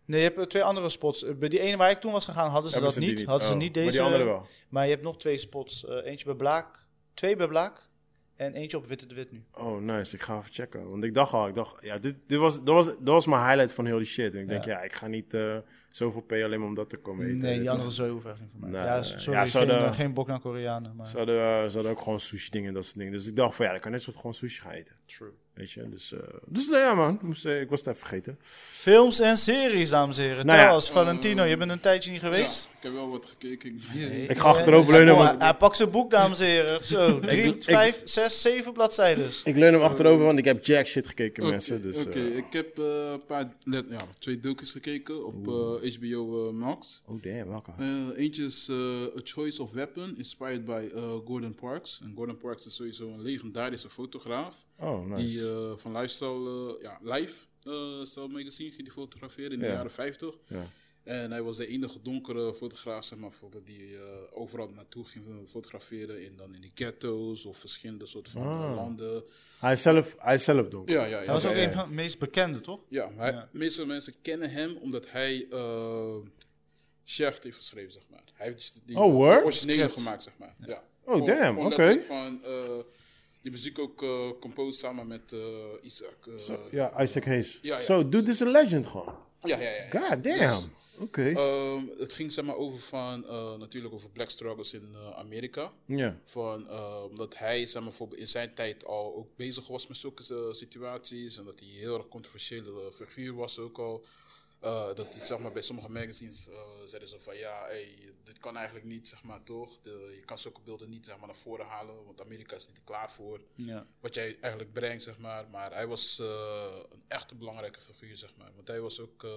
[SPEAKER 2] Nee, je hebt eh, twee andere spots. Eh, Bij die ene waar ik toen was gegaan hadden ze
[SPEAKER 3] Hebben
[SPEAKER 2] dat
[SPEAKER 3] die
[SPEAKER 2] niet. Hadden ze
[SPEAKER 3] Oh,
[SPEAKER 2] niet
[SPEAKER 3] Maar
[SPEAKER 2] deze.
[SPEAKER 3] die andere wel.
[SPEAKER 2] Maar je hebt nog twee spots. Eh, eentje bij Blaak, twee bij Blaak en eentje op Witte de Wit nu.
[SPEAKER 3] Oh, nice. Ik ga even checken. Want ik dacht al, ik dacht, ja, dit, dit was, dat, was, dat was mijn highlight van heel die shit. En ik denk,
[SPEAKER 2] Ja.
[SPEAKER 3] ja, ik ga niet eh, zoveel payen alleen maar om dat te komen eten.
[SPEAKER 2] Nee, die andere zooi hoeft echt niet voor mij.
[SPEAKER 3] Nee,
[SPEAKER 2] ja,
[SPEAKER 3] nee,
[SPEAKER 2] sorry,
[SPEAKER 3] nee. Ja, ze
[SPEAKER 2] geen,
[SPEAKER 3] hadden-
[SPEAKER 2] eh, geen bok naar Koreanen. Maar...
[SPEAKER 3] Ze hadden, eh, ze hadden ook gewoon sushi dingen en dat soort dingen. Dus ik dacht van, ja, ik kan net zo goed gewoon sushi gaan eten.
[SPEAKER 2] True.
[SPEAKER 3] Weet je, dus, eh, dus nou ja man, ik, moest, eh, ik was het even vergeten.
[SPEAKER 2] Films en series, dames en heren.
[SPEAKER 3] Nou
[SPEAKER 2] Nou,
[SPEAKER 3] ja.
[SPEAKER 2] Valentino, je bent een tijdje niet geweest.
[SPEAKER 1] Ja, ik heb wel wat gekeken. Nee.
[SPEAKER 3] Ik ga achterover leunen,
[SPEAKER 2] Oh, hij-
[SPEAKER 3] want-
[SPEAKER 2] Hij pakt zijn boek, dames en heren. Zo, drie,
[SPEAKER 3] ik-
[SPEAKER 2] vijf, zes, zeven bladzijden.
[SPEAKER 3] Ik leun hem achterover, want ik heb jack shit gekeken,
[SPEAKER 1] Oké,
[SPEAKER 3] mensen. Dus, eh,
[SPEAKER 1] oké, ik heb eh, een paar, let- ja, twee docu's gekeken op eh, HBO eh, Max.
[SPEAKER 3] Oh damn, welke.
[SPEAKER 1] Eh, eentje is eh, A Choice of Weapon, inspired by eh, Gordon Parks. En Gordon Parks is sowieso een legendarische fotograaf.
[SPEAKER 3] Oh, nice.
[SPEAKER 1] Die eh, van Lifestyle, eh, ja, Life, eh Style Magazine ging die fotograferen in
[SPEAKER 3] Ja.
[SPEAKER 1] de jaren 50.
[SPEAKER 3] Ja.
[SPEAKER 1] En hij was de enige donkere fotograaf, zeg maar, bijvoorbeeld, die eh, overal naartoe ging eh, fotograferen. En dan in die ghetto's of verschillende soorten van eh,
[SPEAKER 3] Ah.
[SPEAKER 1] landen.
[SPEAKER 3] Hij is zelf, hij is zelf donker.
[SPEAKER 1] Ja, ja, ja.
[SPEAKER 2] Hij was ook
[SPEAKER 1] ja,
[SPEAKER 2] een van de meest bekende, toch?
[SPEAKER 1] ja, maar hij-
[SPEAKER 2] Ja.
[SPEAKER 1] de meeste mensen kennen hem omdat hij eh chef heeft geschreven, zeg maar. Hij heeft dus die,
[SPEAKER 3] Oh, word?
[SPEAKER 1] de originele
[SPEAKER 2] Script.
[SPEAKER 1] gemaakt, zeg maar. Ja.
[SPEAKER 3] Oh,
[SPEAKER 1] Gewoon-
[SPEAKER 3] damn,
[SPEAKER 1] gewoon
[SPEAKER 3] oké.
[SPEAKER 1] letterlijk Van eh, die muziek ook eh composed samen met eh, Isaac. eh,
[SPEAKER 3] Ja, Isaac Hayes. Zo,
[SPEAKER 1] Ja, ja.
[SPEAKER 3] dude is een legend gewoon.
[SPEAKER 1] ja, ja, ja.
[SPEAKER 3] God damn.
[SPEAKER 1] Dus-
[SPEAKER 3] Oké.
[SPEAKER 1] Ehm, het ging zeg maar over van, eh, natuurlijk over black struggles in eh, Amerika.
[SPEAKER 3] ja.
[SPEAKER 1] Van, eh, omdat hij zeg maar, voor, in zijn tijd al ook bezig was met zulke eh, situaties. En dat hij een heel erg controversiële eh, figuur was ook al. Eh, dat hij zeg maar, bij sommige magazines eh, zeiden ze van ja, hey, dit kan eigenlijk niet, zeg maar toch. De- je kan zulke beelden niet zeg maar, naar voren halen, want Amerika is niet er klaar voor.
[SPEAKER 2] Ja.
[SPEAKER 1] Wat jij eigenlijk brengt, zeg maar. Maar hij was eh, een echt belangrijke figuur, zeg maar. Want hij was ook. eh,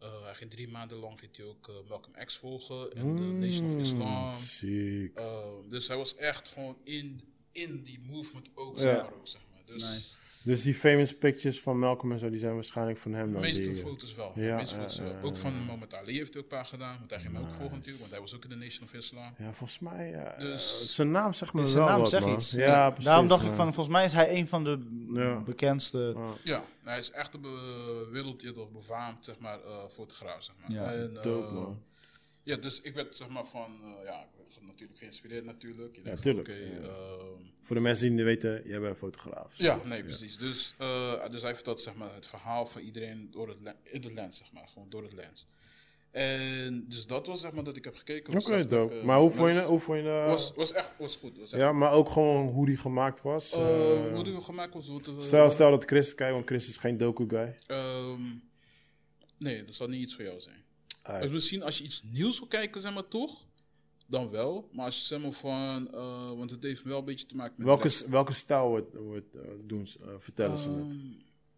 [SPEAKER 1] eh, hij ging drie maanden lang ging hij ook eh, Malcolm X volgen en
[SPEAKER 3] Mm.
[SPEAKER 1] de Nation of Islam.
[SPEAKER 3] Hmm, Ziek.
[SPEAKER 1] Ehm, dus hij was echt gewoon in, in die movement ook,
[SPEAKER 3] Ja.
[SPEAKER 1] zeg maar. Ook, zeg maar. Dus
[SPEAKER 3] Dus die famous pictures van Malcolm en zo, die zijn waarschijnlijk van hem
[SPEAKER 1] de
[SPEAKER 3] dan.
[SPEAKER 1] meeste
[SPEAKER 3] die, eh,
[SPEAKER 1] foto's wel.
[SPEAKER 3] Ja,
[SPEAKER 1] de meeste
[SPEAKER 3] ja,
[SPEAKER 1] foto's wel.
[SPEAKER 3] ja,
[SPEAKER 1] ook
[SPEAKER 3] ja.
[SPEAKER 1] van Mohammed Ali heeft hij ook een paar gedaan, want hij ging hem ook volgen natuurlijk, want hij was ook in de Nation of Islam.
[SPEAKER 3] Ja, volgens mij. eh,
[SPEAKER 1] Dus-
[SPEAKER 3] zijn naam zegt me
[SPEAKER 2] Zijn
[SPEAKER 3] wel
[SPEAKER 2] naam
[SPEAKER 3] wat,
[SPEAKER 2] zegt
[SPEAKER 3] man.
[SPEAKER 2] iets.
[SPEAKER 3] Ja, precies.
[SPEAKER 2] Daarom dacht
[SPEAKER 3] man.
[SPEAKER 2] ik van, volgens mij is hij een van de
[SPEAKER 3] Ja.
[SPEAKER 2] bekendste.
[SPEAKER 3] Ja.
[SPEAKER 1] Ja, hij is echt een be- wereldwijd befaamd, zeg maar, eh, fotograaf, zeg maar.
[SPEAKER 2] Ja,
[SPEAKER 1] en, eh,
[SPEAKER 3] dope, man.
[SPEAKER 1] Ja, dus ik werd, zeg maar, van, eh, ja, ik werd natuurlijk geïnspireerd natuurlijk. Je denkt van,
[SPEAKER 3] tuurlijk,
[SPEAKER 1] oké,
[SPEAKER 3] ja.
[SPEAKER 1] ehm,
[SPEAKER 3] Voor de mensen die het niet weten, jij bent een fotograaf.
[SPEAKER 1] Ja, nee, precies. Dus, eh, dus hij vertelt zeg maar, het verhaal van iedereen door het, le- in het lens, zeg maar. Gewoon door het lens. En dus dat was zeg maar dat ik heb gekeken.
[SPEAKER 3] Oké,
[SPEAKER 1] Dus dat
[SPEAKER 3] dope.
[SPEAKER 1] ik, eh,
[SPEAKER 3] maar hoe vond je
[SPEAKER 1] nice-
[SPEAKER 3] hoe vond je eh,
[SPEAKER 1] Was, was echt was goed. Was echt,
[SPEAKER 3] Ja, maar ook gewoon hoe die gemaakt was.
[SPEAKER 1] Eh,
[SPEAKER 3] eh,
[SPEAKER 1] hoe die gemaakt was. Wat, eh,
[SPEAKER 3] stel, stel dat Chris kijkt, want Chris is geen doku-guy.
[SPEAKER 1] ehm, nee, dat zal niet iets voor jou zijn.
[SPEAKER 3] Ah,
[SPEAKER 1] Dus misschien als je iets nieuws wil kijken, zeg maar toch. dan wel. Maar als je zeg maar van, eh, want het heeft wel een beetje te maken met...
[SPEAKER 3] Welke,
[SPEAKER 1] les.
[SPEAKER 3] s- welke stijl wordt, wordt, eh, doen ze, eh, vertellen ze? me?
[SPEAKER 1] Ehm,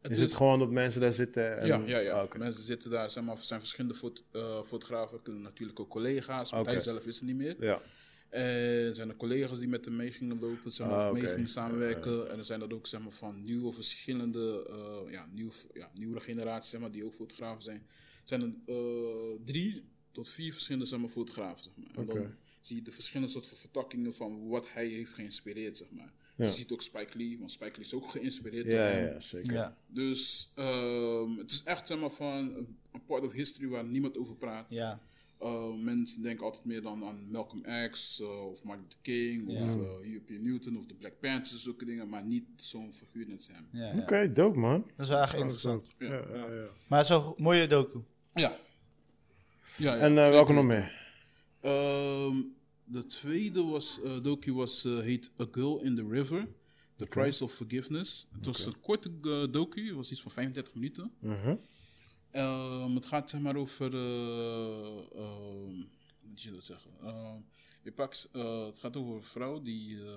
[SPEAKER 1] het
[SPEAKER 3] is, het gewoon dat mensen daar zitten? En,
[SPEAKER 1] Ja, ja, ja.
[SPEAKER 3] Ah, oké.
[SPEAKER 1] mensen zitten daar, zeg maar, zijn verschillende fot- eh, fotografen, kunnen natuurlijk ook collega's, want
[SPEAKER 3] Oké.
[SPEAKER 1] hij zelf is er niet meer.
[SPEAKER 3] ja.
[SPEAKER 1] En Eh, zijn er collega's die met hem mee gingen lopen, zijn
[SPEAKER 3] Ah,
[SPEAKER 1] er mee
[SPEAKER 3] oké.
[SPEAKER 1] gingen samenwerken. En er zijn dat ook zeg maar, van nieuwe, verschillende, eh, ja, nieuw, ja, nieuwere generaties zeg maar, die ook fotografen zijn. zijn er eh, drie tot vier verschillende zeg maar, fotografen. Zeg maar. En dan
[SPEAKER 3] Oké.
[SPEAKER 1] zie je de verschillende soorten van vertakkingen van wat hij heeft geïnspireerd. Zeg maar.
[SPEAKER 3] Ja.
[SPEAKER 1] Je ziet ook Spike Lee, want Spike Lee is ook geïnspireerd door
[SPEAKER 3] Ja,
[SPEAKER 1] hem.
[SPEAKER 3] ja, zeker.
[SPEAKER 2] Ja,
[SPEAKER 1] Dus ehm, het is echt zeg maar, van een- een part of history waar niemand over praat.
[SPEAKER 2] ja.
[SPEAKER 1] Uh, mensen denken altijd meer dan aan Malcolm X eh, of Martin Luther King
[SPEAKER 2] Ja.
[SPEAKER 1] of eh European Newton of de Black Panthers, zulke dingen, maar niet zo'n figuur net als hem.
[SPEAKER 2] ja, ja.
[SPEAKER 3] Oké, dope man.
[SPEAKER 2] Dat is wel echt interessant.
[SPEAKER 3] Ja, ja, ja.
[SPEAKER 2] Maar het is wel een mooie docu.
[SPEAKER 1] Ja. ja, ja
[SPEAKER 3] En eh,
[SPEAKER 1] zeker.
[SPEAKER 3] welke nog meer?
[SPEAKER 1] Ehm, de tweede was, eh docu was, eh, heet A Girl in the River, The Price of Forgiveness. Het was een korte eh, docu, het was iets van 35 minuten.
[SPEAKER 3] Mhm.
[SPEAKER 1] Ehm, het gaat zeg maar over. eh, ehm, hoe moet je dat zeggen? Ehm, in Pax, eh, het gaat over een vrouw die. eh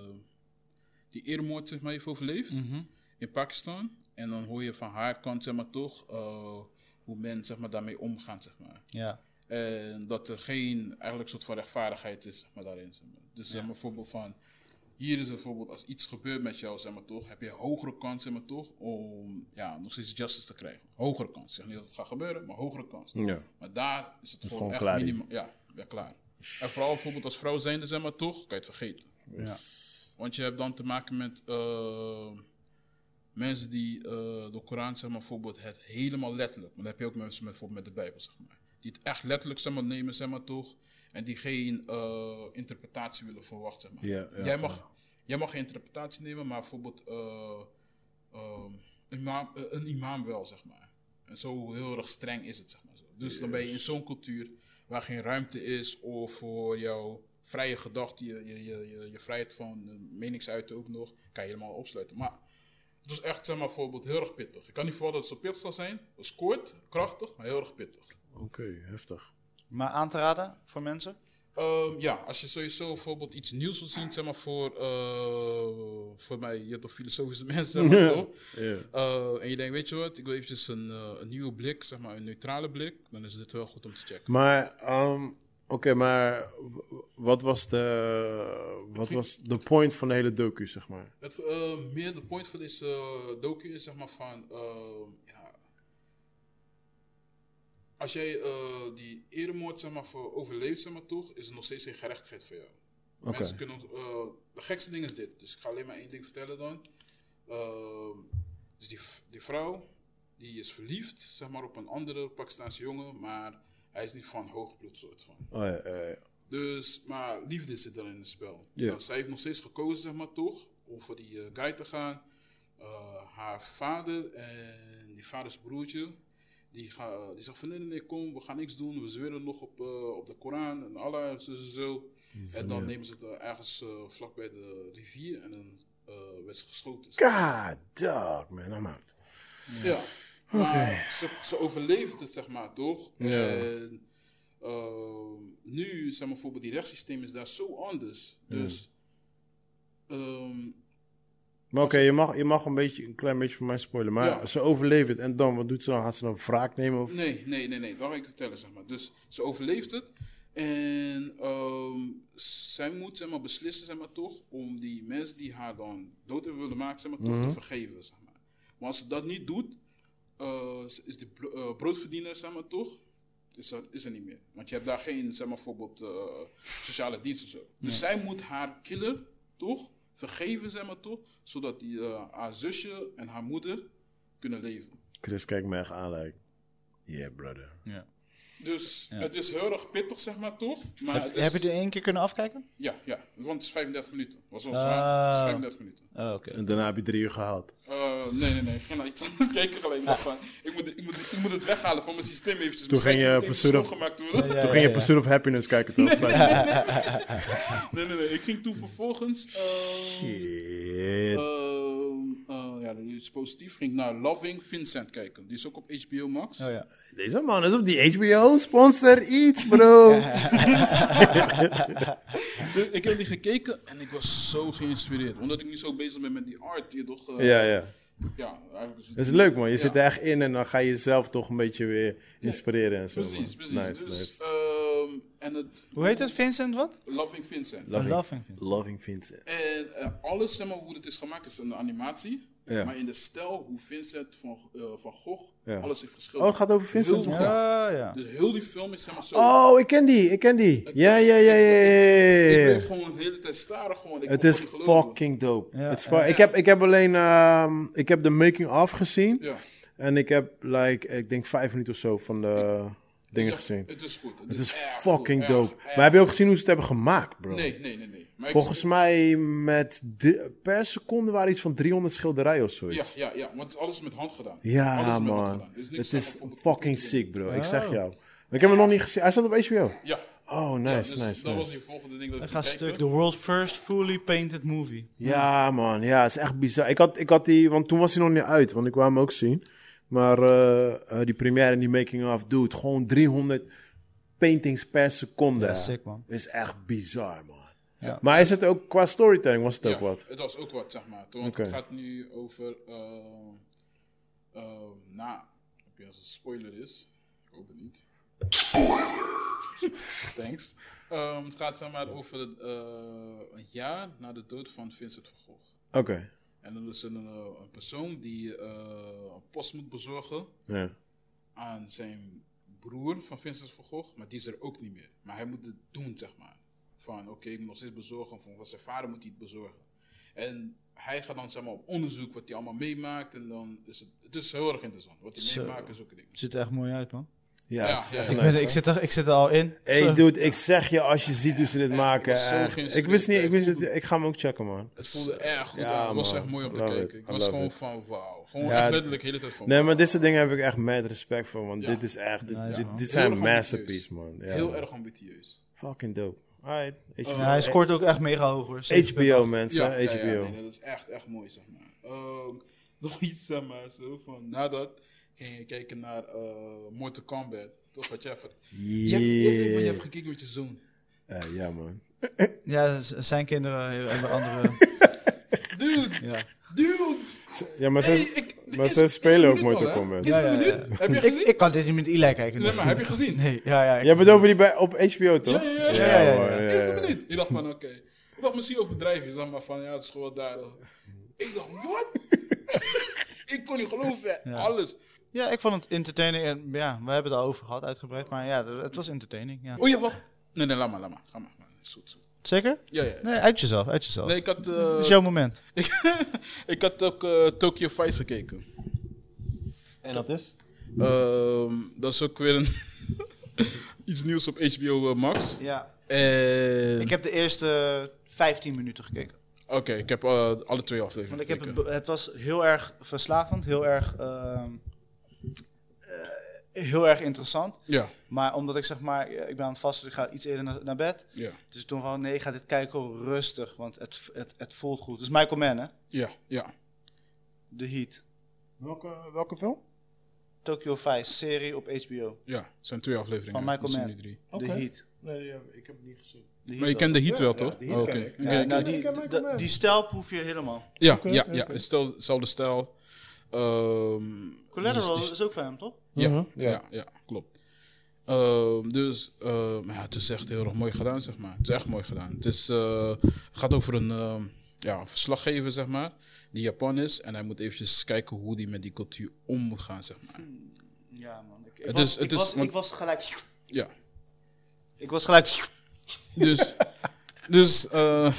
[SPEAKER 1] die eermoord zeg maar, heeft overleefd
[SPEAKER 2] Mhm.
[SPEAKER 1] in Pakistan. En dan hoor je van haar kant zeg maar, toch eh, hoe men zeg maar, daarmee omgaat. Zeg maar.
[SPEAKER 2] Ja.
[SPEAKER 1] En dat er geen eigenlijk soort van rechtvaardigheid is zeg maar, daarin. Zeg maar. Dus zeg maar, bijvoorbeeld van. Hier is bijvoorbeeld als iets gebeurt met jou, zeg maar toch, heb je hogere kans, zeg maar toch, om ja, nog steeds justice te krijgen. Hogere kans. Ik zeg niet dat het gaat gebeuren, maar hogere kans.
[SPEAKER 3] Ja.
[SPEAKER 1] Maar daar is het gewoon,
[SPEAKER 3] gewoon
[SPEAKER 1] echt
[SPEAKER 3] klaar, die.
[SPEAKER 1] minimaal. Ja, ja, klaar. En vooral bijvoorbeeld als vrouw zijnde, zeg maar toch, kan je het vergeten. Want je hebt dan te maken met eh, mensen die eh, de Koran, zeg maar bijvoorbeeld, het helemaal letterlijk. Maar dan heb je ook mensen met, bijvoorbeeld met de Bijbel, zeg maar. Die het echt letterlijk, zeg maar, nemen, zeg maar toch. En die geen eh, interpretatie willen verwachten, zeg maar.
[SPEAKER 3] Ja, ja,
[SPEAKER 1] jij, mag, jij mag geen interpretatie nemen, maar bijvoorbeeld eh, ehm, imam- eh, een imam wel, zeg maar. En zo heel erg streng is het, zeg maar. Zo. Dus dan ben je in zo'n cultuur waar geen ruimte is of voor jouw vrije gedachten, je, je, je, je, je vrijheid van eh, meningsuiting ook nog, kan je helemaal opsluiten. Maar het was echt, zeg maar, bijvoorbeeld heel erg pittig. Ik kan niet verwachten dat het zo pittig zal zijn. Het is kort, krachtig, maar heel erg pittig.
[SPEAKER 3] Oké, heftig.
[SPEAKER 2] Maar aan te raden voor mensen?
[SPEAKER 1] Ehm, ja, als je sowieso bijvoorbeeld iets nieuws wil zien, zeg maar, voor, eh, voor mij, je hebt toch filosofische mensen, zeg maar, toch?
[SPEAKER 3] Ja.
[SPEAKER 1] Eh, en je denkt, weet je wat, ik wil eventjes een, eh, een nieuwe blik, zeg maar, een neutrale blik. Dan is dit wel goed om te checken.
[SPEAKER 3] Maar, ehm, oké, maar w- wat was de, wat was de point van de hele docu, zeg maar?
[SPEAKER 1] Het, eh, meer de point van deze eh, docu is zeg maar van, ehm, ja, als jij eh, die eremoord zeg maar, voor overleeft, zeg maar toch, is er nog steeds geen gerechtigheid voor jou.
[SPEAKER 3] Oké.
[SPEAKER 1] Mensen kunnen, eh, de gekste ding is dit, dus ik ga alleen maar één ding vertellen dan. Ehm, dus die, v- die vrouw, die is verliefd, zeg maar, op een andere Pakistaanse jongen, maar hij is niet van hoog bloedsoort van.
[SPEAKER 3] Oh ja, ja, ja.
[SPEAKER 1] Dus, maar liefde zit dan in het spel.
[SPEAKER 3] Ja.
[SPEAKER 1] Nou, zij heeft nog steeds gekozen, zeg maar, toch, om voor die eh, guy te gaan. Eh, haar vader en die vaders broertje, die, ga, die zegt van nee, nee, nee, kom, we gaan niks doen. We zweren nog op, eh, op de Koran en Allah en zo, zo, zo. En dan nemen ze het eh, ergens eh, vlak bij de rivier en dan eh, werd ze geschoten.
[SPEAKER 3] God, dog, man, I'm out.
[SPEAKER 1] Ja. Maar ze, ze overleefde het, zeg maar, toch?
[SPEAKER 3] Ja.
[SPEAKER 1] En ehm, nu, zeg maar, bijvoorbeeld, die rechtssysteem is daar zo anders. Dus, ehm,
[SPEAKER 3] Maar oké, je, mag, je mag een, beetje, een klein beetje voor mij spoilen, maar
[SPEAKER 1] Ja.
[SPEAKER 3] ze overleeft het en dan, wat doet ze dan? Gaat ze dan wraak nemen? Of?
[SPEAKER 1] nee, nee, nee, nee, dat ga ik vertellen, zeg maar. Dus ze overleeft het. En ehm, zij moet, zeg maar, beslissen, zeg maar, toch, om die mensen die haar dan dood hebben willen maken, zeg maar, toch, te vergeven, zeg maar. Maar als ze dat niet doet, eh, is de bro- eh, broodverdiener, zeg maar toch, is er, is er niet meer. Want je hebt daar geen, zeg maar bijvoorbeeld, eh, sociale dienst of zo. Dus zij moet haar killer, toch, vergeven, zeg maar toch, zodat die, eh, haar zusje en haar moeder kunnen leven.
[SPEAKER 3] Chris kijkt me echt aan, like, yeah, brother.
[SPEAKER 2] Ja.
[SPEAKER 1] Dus het is heel erg pittig, zeg maar toch. Maar het is-
[SPEAKER 2] Heb je er één keer kunnen afkijken?
[SPEAKER 1] ja, ja, want het is 35 minuten. Was ons
[SPEAKER 2] Ah.
[SPEAKER 1] zwaar. Het is 35 minuten.
[SPEAKER 2] Oh, oké.
[SPEAKER 3] En daarna heb je drie uur gehaald.
[SPEAKER 1] Eh, nee, nee, nee. Ik ging naar iets anders kijken gelijk. Ik dacht van, ik moet, ik, moet, ik moet het weghalen van mijn systeem eventjes. Mijn
[SPEAKER 3] ging je
[SPEAKER 1] site moet even
[SPEAKER 3] Pursuit of-
[SPEAKER 1] schoongemaakt worden.
[SPEAKER 2] Ja,
[SPEAKER 3] Toen
[SPEAKER 2] ja,
[SPEAKER 3] ging je
[SPEAKER 2] ja.
[SPEAKER 3] Pursuit of Happiness kijken, toch?
[SPEAKER 1] Nee, nee, nee. Ik ging toen vervolgens. ehm, ehm,
[SPEAKER 3] Shit.
[SPEAKER 1] eh, ja, ja, dat is iets positiefs. Ging ik naar Loving Vincent kijken. Die is ook op HBO Max.
[SPEAKER 2] Oh ja.
[SPEAKER 3] Deze man is op die HBO. Sponsor iets, bro.
[SPEAKER 1] Dus ik heb die gekeken en ik was zo geïnspireerd. Omdat ik nu zo bezig ben met die art hier toch. eh,
[SPEAKER 3] ja, ja.
[SPEAKER 1] ja, eigenlijk is het-
[SPEAKER 3] Dat is leuk, man. Je zit
[SPEAKER 1] Ja.
[SPEAKER 3] er echt in en dan ga je jezelf toch een beetje weer inspireren en zo. man.
[SPEAKER 1] Precies, precies.
[SPEAKER 3] Nice,
[SPEAKER 1] dus,
[SPEAKER 3] nice.
[SPEAKER 1] ehm, en het
[SPEAKER 2] Hoe heet het, Vincent? Wat?
[SPEAKER 1] Loving Vincent.
[SPEAKER 3] Loving,
[SPEAKER 2] Loving Vincent.
[SPEAKER 3] loving Vincent.
[SPEAKER 1] En eh, alles, zeg maar, hoe het is gemaakt, is een animatie.
[SPEAKER 3] Ja.
[SPEAKER 1] Maar in de stijl, hoe Vincent van, eh, van Gogh,
[SPEAKER 3] Ja.
[SPEAKER 1] alles heeft
[SPEAKER 3] Oh,
[SPEAKER 1] geschilderd.
[SPEAKER 3] het gaat over Vincent.
[SPEAKER 1] Heel-
[SPEAKER 3] Ja.
[SPEAKER 2] Ja, ja.
[SPEAKER 1] Dus heel die film is, zeg maar, zo.
[SPEAKER 3] Oh, ik ken die, ik ken die. Ja, ja, ja, ja, ja,
[SPEAKER 1] Ik
[SPEAKER 3] ja.
[SPEAKER 1] bleef gewoon de hele tijd staren. Gewoon. Ik
[SPEAKER 3] Het
[SPEAKER 1] kon
[SPEAKER 3] is
[SPEAKER 1] gewoon niet geloven.
[SPEAKER 3] fucking dope.
[SPEAKER 2] Ja,
[SPEAKER 3] Het is
[SPEAKER 2] ja.
[SPEAKER 3] fu- ik, heb, ik heb alleen, ehm, ik heb de making-of gezien.
[SPEAKER 1] Ja.
[SPEAKER 3] En ik heb, like, ik denk vijf minuten of zo van de dingen
[SPEAKER 1] Dus ja,
[SPEAKER 3] gezien.
[SPEAKER 1] Het is goed.
[SPEAKER 3] Het is
[SPEAKER 1] erg
[SPEAKER 3] fucking
[SPEAKER 1] goed, erg,
[SPEAKER 3] dope.
[SPEAKER 1] erg
[SPEAKER 3] Maar heb je ook
[SPEAKER 1] goed.
[SPEAKER 3] gezien hoe ze het hebben gemaakt, bro?
[SPEAKER 1] Nee, nee, nee. nee. Maar ik-
[SPEAKER 3] Volgens mij met de- per seconde waren iets van 300 schilderijen of zoiets.
[SPEAKER 1] Ja, ja, ja. Want alles is met hand gedaan.
[SPEAKER 3] Ja,
[SPEAKER 1] alles is met hand
[SPEAKER 3] man.
[SPEAKER 1] gedaan. Dus niks
[SPEAKER 3] het
[SPEAKER 1] staat
[SPEAKER 3] is
[SPEAKER 1] op- op- op-
[SPEAKER 3] fucking
[SPEAKER 1] op-
[SPEAKER 3] sick, bro. Ik
[SPEAKER 2] Oh.
[SPEAKER 3] zeg jou. Ik heb hem nog niet gezien. Hij staat op HBO.
[SPEAKER 1] Ja.
[SPEAKER 3] Oh, nice,
[SPEAKER 1] Ja,
[SPEAKER 3] nice,
[SPEAKER 1] dus
[SPEAKER 3] nice.
[SPEAKER 1] Dat was die volgende ding dat
[SPEAKER 2] Dat
[SPEAKER 1] ik
[SPEAKER 2] gaat
[SPEAKER 1] gekeken.
[SPEAKER 2] stuk. The world first fully painted movie.
[SPEAKER 3] Ja, man. Ja, het is echt bizar. Ik had, ik had die, want toen was hij nog niet uit, want ik wou hem ook zien. Maar eh, eh, die première en die making-of, dude, gewoon 300 paintings per seconde.
[SPEAKER 2] Ja, sick man.
[SPEAKER 3] Is echt bizar, man.
[SPEAKER 2] Ja.
[SPEAKER 3] Maar is het ook qua storytelling, was het
[SPEAKER 1] Ja,
[SPEAKER 3] ook wat?
[SPEAKER 1] Het was ook wat, zeg maar. Want
[SPEAKER 3] Oké.
[SPEAKER 1] het gaat nu over. eh eh, na. Ik weet niet of het een spoiler is. Ik hoop het niet. Thanks. Ehm, het gaat zeg maar over het, eh, een jaar na de dood van Vincent van Gogh.
[SPEAKER 3] Oké.
[SPEAKER 1] En dan is er een, eh, een persoon die eh, een post moet bezorgen
[SPEAKER 3] Ja.
[SPEAKER 1] aan zijn broer van Vincent van Gogh, maar die is er ook niet meer. Maar hij moet het doen, zeg maar. Van oké, ik moet nog steeds bezorgen, van wat zijn vader moet hij het bezorgen. En hij gaat dan zeg maar op onderzoek wat hij allemaal meemaakt en dan is het, het is heel erg interessant. Wat hij
[SPEAKER 2] Zo.
[SPEAKER 1] meemaakt is ook een ding.
[SPEAKER 2] Het ziet er echt mooi uit man.
[SPEAKER 3] Ja,
[SPEAKER 1] Ja,
[SPEAKER 3] het is
[SPEAKER 1] ja,
[SPEAKER 3] echt
[SPEAKER 1] ja.
[SPEAKER 2] Ik,
[SPEAKER 3] nice,
[SPEAKER 2] ben,
[SPEAKER 3] hè?
[SPEAKER 2] ik, zit er, ik zit er al in.
[SPEAKER 3] Hey
[SPEAKER 2] Zo.
[SPEAKER 3] dude, ik zeg je als je ziet hoe ze dit maken.
[SPEAKER 1] was zo
[SPEAKER 3] eh, ik
[SPEAKER 1] geïnspireerd,
[SPEAKER 3] wist niet,
[SPEAKER 1] hè.
[SPEAKER 3] ik, wist
[SPEAKER 1] Voelde-
[SPEAKER 3] het, ik ga hem ook checken, man.
[SPEAKER 1] Het voelde erg goed
[SPEAKER 3] Ja,
[SPEAKER 1] aan. Het was
[SPEAKER 3] man.
[SPEAKER 1] echt mooi om te
[SPEAKER 3] Love
[SPEAKER 1] kijken.
[SPEAKER 3] it.
[SPEAKER 1] Ik
[SPEAKER 3] I
[SPEAKER 1] was
[SPEAKER 3] love
[SPEAKER 1] gewoon
[SPEAKER 3] it.
[SPEAKER 1] van wauw. Gewoon
[SPEAKER 3] Ja,
[SPEAKER 1] echt
[SPEAKER 3] het-
[SPEAKER 1] letterlijk de hele tijd van
[SPEAKER 3] Nee, maar
[SPEAKER 1] wauw.
[SPEAKER 3] dit soort dingen heb ik echt mad respect voor, want
[SPEAKER 1] Oh, Ja.
[SPEAKER 3] dit is echt, dit,
[SPEAKER 2] Nice,
[SPEAKER 3] dit,
[SPEAKER 2] man.
[SPEAKER 3] dit
[SPEAKER 1] Heel
[SPEAKER 3] zijn
[SPEAKER 1] erg
[SPEAKER 3] masterpieces, man.
[SPEAKER 1] ambitieus.
[SPEAKER 3] Ja,
[SPEAKER 1] Heel
[SPEAKER 3] man.
[SPEAKER 1] erg ambitieus.
[SPEAKER 3] Fucking dope. Alright. HBO,
[SPEAKER 2] Ja, hij scoort ook echt mega hoog hoor.
[SPEAKER 3] HBO mensen,
[SPEAKER 1] ja,
[SPEAKER 3] HBO.
[SPEAKER 1] Ja, ja, nee, dat is echt, echt mooi, zeg maar. Ehm, nog iets, zeg maar, zo van nadat ging je kijken naar eh Mortal Kombat. Toch wat jij hebt. Je hebt, je hebt- je hebt gekeken met je zoon.
[SPEAKER 3] Eh, ja, man.
[SPEAKER 2] Ja, z- zijn kinderen hebben andere.
[SPEAKER 1] Dude,
[SPEAKER 2] ja.
[SPEAKER 1] dude!
[SPEAKER 3] Ja, maar ze,
[SPEAKER 1] Hey, ik,
[SPEAKER 3] maar
[SPEAKER 1] is-
[SPEAKER 3] ze
[SPEAKER 1] is
[SPEAKER 3] spelen
[SPEAKER 1] een
[SPEAKER 3] ook
[SPEAKER 1] minuut
[SPEAKER 3] Mortal
[SPEAKER 1] al, hè?
[SPEAKER 3] Kombat.
[SPEAKER 1] Is het
[SPEAKER 2] Ja,
[SPEAKER 1] een
[SPEAKER 2] ja, ja.
[SPEAKER 1] minuut? Heb je gezien?
[SPEAKER 2] Ik kan dit niet met Eli kijken.
[SPEAKER 1] Nee, maar heb je gezien?
[SPEAKER 2] Nee, ja, ja. ik-
[SPEAKER 3] Jij bent over die bij, op HBO, toch?
[SPEAKER 1] Ja, ja, ja,
[SPEAKER 2] ja, ja,
[SPEAKER 3] man,
[SPEAKER 2] ja.
[SPEAKER 1] Is het een minuut? Ik dacht van, oké. Ik dacht, misschien overdrijf je, zeg maar, van ja, het is gewoon daar. hoor. Ik dacht, wat? ik kon niet geloven,
[SPEAKER 2] Ja.
[SPEAKER 1] alles.
[SPEAKER 2] Ja, ik vond het entertaining. En ja, we hebben het al over gehad, uitgebreid. Maar ja, het was entertaining. Ja.
[SPEAKER 1] Oh ja, wacht. Nee, nee, laat maar, laat maar. Ga maar, man. Zoet, zoet.
[SPEAKER 2] Zeker?
[SPEAKER 1] Ja, ja.
[SPEAKER 2] Nee, uit jezelf, uit jezelf.
[SPEAKER 1] Nee, ik had, eh,
[SPEAKER 2] Het is jouw moment.
[SPEAKER 1] ik had ook eh, Tokyo Vice gekeken.
[SPEAKER 3] En dat is?
[SPEAKER 1] Ehm, dat is ook weer een iets nieuws op HBO eh, Max.
[SPEAKER 2] Ja.
[SPEAKER 1] En...
[SPEAKER 2] Ik heb de eerste 15 minuten gekeken.
[SPEAKER 1] Oké, ik heb eh, alle twee
[SPEAKER 2] Want
[SPEAKER 1] afleveringen
[SPEAKER 2] ik heb het,
[SPEAKER 1] gekeken.
[SPEAKER 2] be- het was heel erg verslavend, heel erg, ehm, eh, heel erg interessant.
[SPEAKER 1] Ja,
[SPEAKER 2] Maar omdat ik zeg maar, eh, ik ben aan het vasten, dus ik ga iets eerder naar, naar bed.
[SPEAKER 1] ja,
[SPEAKER 2] Dus toen van, nee, ik ga dit kijken oh, rustig, want het, het, het voelt goed. Dus Michael Mann, hè?
[SPEAKER 1] ja, ja.
[SPEAKER 2] The Heat.
[SPEAKER 3] Welke, welke film?
[SPEAKER 2] Tokyo Vice, serie op HBO.
[SPEAKER 1] Ja, het zijn twee afleveringen.
[SPEAKER 2] Van Michael
[SPEAKER 1] dat zijn
[SPEAKER 2] Mann.
[SPEAKER 1] die drie.
[SPEAKER 3] Oké.
[SPEAKER 2] The Heat.
[SPEAKER 3] Nee, ik heb het niet gezien.
[SPEAKER 2] The Heat
[SPEAKER 1] Maar je
[SPEAKER 2] wel.
[SPEAKER 1] kent de Heat wel,
[SPEAKER 3] Ja,
[SPEAKER 1] toch? Oh,
[SPEAKER 3] de Heat
[SPEAKER 1] Oké,
[SPEAKER 3] ken ik.
[SPEAKER 1] oké,
[SPEAKER 2] Ja,
[SPEAKER 1] oké.
[SPEAKER 2] nou,
[SPEAKER 3] ik
[SPEAKER 2] die,
[SPEAKER 3] ken Michael
[SPEAKER 2] da-
[SPEAKER 3] Mann.
[SPEAKER 2] die stijl hoef je helemaal.
[SPEAKER 1] Ja,
[SPEAKER 3] Oké,
[SPEAKER 1] ja,
[SPEAKER 3] oké,
[SPEAKER 1] ja.
[SPEAKER 3] oké.
[SPEAKER 1] Stel, hetzelfde stijl. Ehm,
[SPEAKER 2] Collateral
[SPEAKER 1] dus die-
[SPEAKER 2] is ook van hem, toch?
[SPEAKER 1] ja,
[SPEAKER 3] Mhm, ja.
[SPEAKER 1] ja. ja, klopt. Ehm, dus ehm, ja, het is echt heel erg mooi gedaan, zeg maar. Het is echt mooi gedaan. Het is, eh, het gaat over een, ehm, ja, een verslaggever, zeg maar, die Japan is. En hij moet eventjes kijken hoe die met die cultuur om moet gaan, zeg maar.
[SPEAKER 2] Ja, man. Ik, ik
[SPEAKER 1] Het
[SPEAKER 2] was,
[SPEAKER 1] is-
[SPEAKER 2] ik,
[SPEAKER 1] het is-
[SPEAKER 2] was,
[SPEAKER 1] want-
[SPEAKER 2] ik was gelijk...
[SPEAKER 1] Ja,
[SPEAKER 2] Ik was gelijk...
[SPEAKER 1] dus, dus, eh,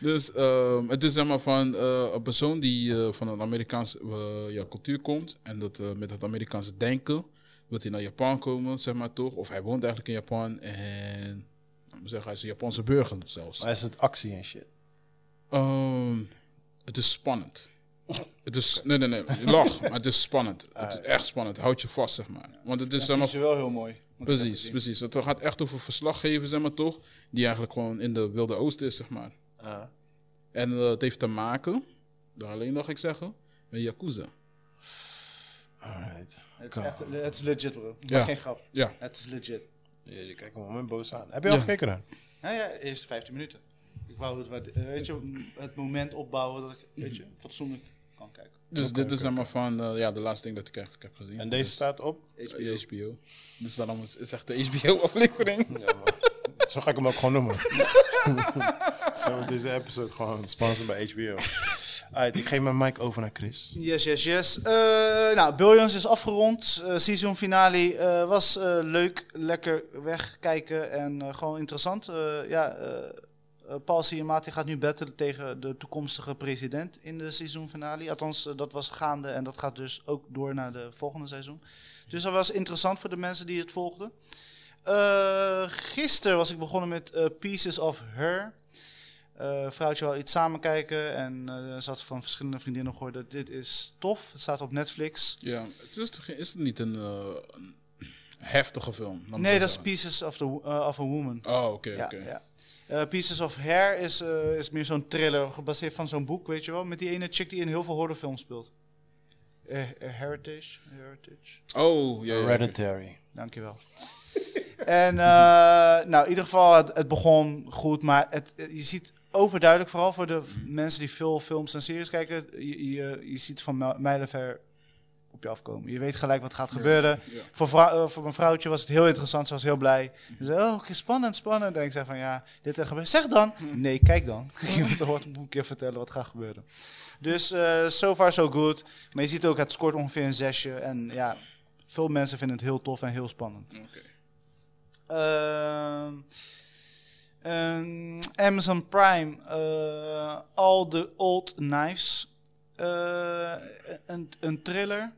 [SPEAKER 1] dus ehm, het is zeg maar van eh, een persoon die eh, van een Amerikaanse eh, ja, cultuur komt en dat eh, met het Amerikaanse denken wil hij naar Japan komen, zeg maar toch? Of hij woont eigenlijk in Japan en laat me zeggen, hij is een Japanse burger zelfs.
[SPEAKER 3] is het actie en shit?
[SPEAKER 1] Ehm, het is spannend. Het is, nee, nee, nee, lach, maar het is spannend. Het is echt spannend, houd je vast, zeg maar. Want het is, zeg maar,
[SPEAKER 2] is wel heel mooi.
[SPEAKER 1] precies, precies. Het gaat echt over verslaggevers, zeg maar toch? Die eigenlijk gewoon in de Wilde Oosten is, zeg maar. En eh, het heeft te maken, daar alleen nog ik zeggen, met Yakuza.
[SPEAKER 3] Alright.
[SPEAKER 2] Het is, echt, het is legit, bro. Ik
[SPEAKER 1] Ja.
[SPEAKER 2] maak Geen grap.
[SPEAKER 1] Ja.
[SPEAKER 2] Het is legit.
[SPEAKER 3] Je kijkt me moment boos aan. Heb je al
[SPEAKER 1] Ja.
[SPEAKER 3] gekeken dan?
[SPEAKER 2] Nou ja, eerste 15 minuten. Ik wou het, wat- eh, weet je, m- het moment opbouwen dat ik weet je, fatsoenlijk kan kijken.
[SPEAKER 1] Dus dit is allemaal van eh, ja, de laatste ding dat ik eigenlijk heb gezien.
[SPEAKER 3] En deze
[SPEAKER 1] Dus,
[SPEAKER 3] staat op?
[SPEAKER 1] eh, HBO. Dus daarom is, is echt de HBO-aflevering.
[SPEAKER 3] Zo ga ik hem ook gewoon noemen. Zo, deze episode gewoon sponsored bij HBO. Alright, ik geef mijn mic over naar Chris.
[SPEAKER 2] Yes, yes, yes. Eh, nou, Billions is afgerond. Eh season finale eh, was eh, leuk, lekker wegkijken en eh, gewoon interessant. Eh, ja, eh eh, Paul Ciamatti gaat nu battelen tegen de toekomstige president in de season finale. Althans, eh, dat was gaande en dat gaat dus ook door naar de volgende seizoen. Dus dat was interessant voor de mensen die het volgden. Eh gisteren was ik begonnen met eh, Pieces of Her. Eh, vrouwtje wel iets samen kijken en eh ze had van verschillende vriendinnen gehoord dat dit is tof. Het staat op Netflix.
[SPEAKER 1] ja, het is, toch- is het niet een, eh, een heftige film? laat me
[SPEAKER 2] Nee,
[SPEAKER 1] zo
[SPEAKER 2] dat is
[SPEAKER 1] zeggen.
[SPEAKER 2] Pieces of, the, Wo- eh, of a Woman.
[SPEAKER 1] Oh, oké,
[SPEAKER 2] ja,
[SPEAKER 1] oké.
[SPEAKER 2] ja. Eh, Pieces of Hair is, eh, is meer zo'n thriller gebaseerd van zo'n boek, weet je wel. Met die ene chick die in heel veel horrorfilms speelt. Eh, eh, heritage, Heritage.
[SPEAKER 1] Oh, ja, ja, oké.
[SPEAKER 3] Hereditary.
[SPEAKER 2] Dankjewel. en eh, nou, in ieder geval, het, het begon goed, maar het, eh, je ziet overduidelijk, vooral voor de v-
[SPEAKER 1] Mm-hmm.
[SPEAKER 2] mensen die veel films en series kijken, je, je, je ziet van mi- mijlenver op je afkomen. Je weet gelijk wat gaat gebeuren.
[SPEAKER 1] ja.
[SPEAKER 2] Voor, vrou- eh, voor mijn vrouwtje was het heel interessant, ze was heel blij. Ze zei, oh, oké, spannend, spannend. En ik zei van, ja, dit er gebeurt. Zeg dan!
[SPEAKER 1] Hm.
[SPEAKER 2] Nee, kijk dan. Je hoort moet ik een keer vertellen wat gaat gebeuren. Dus eh so far so good. Maar je ziet ook, het scoort ongeveer een zesje. En ja, veel mensen vinden het heel tof en heel spannend.
[SPEAKER 1] Oké.
[SPEAKER 2] Ehm, ehm, Amazon Prime, eh, All the Old Knives, Eh, een, een thriller,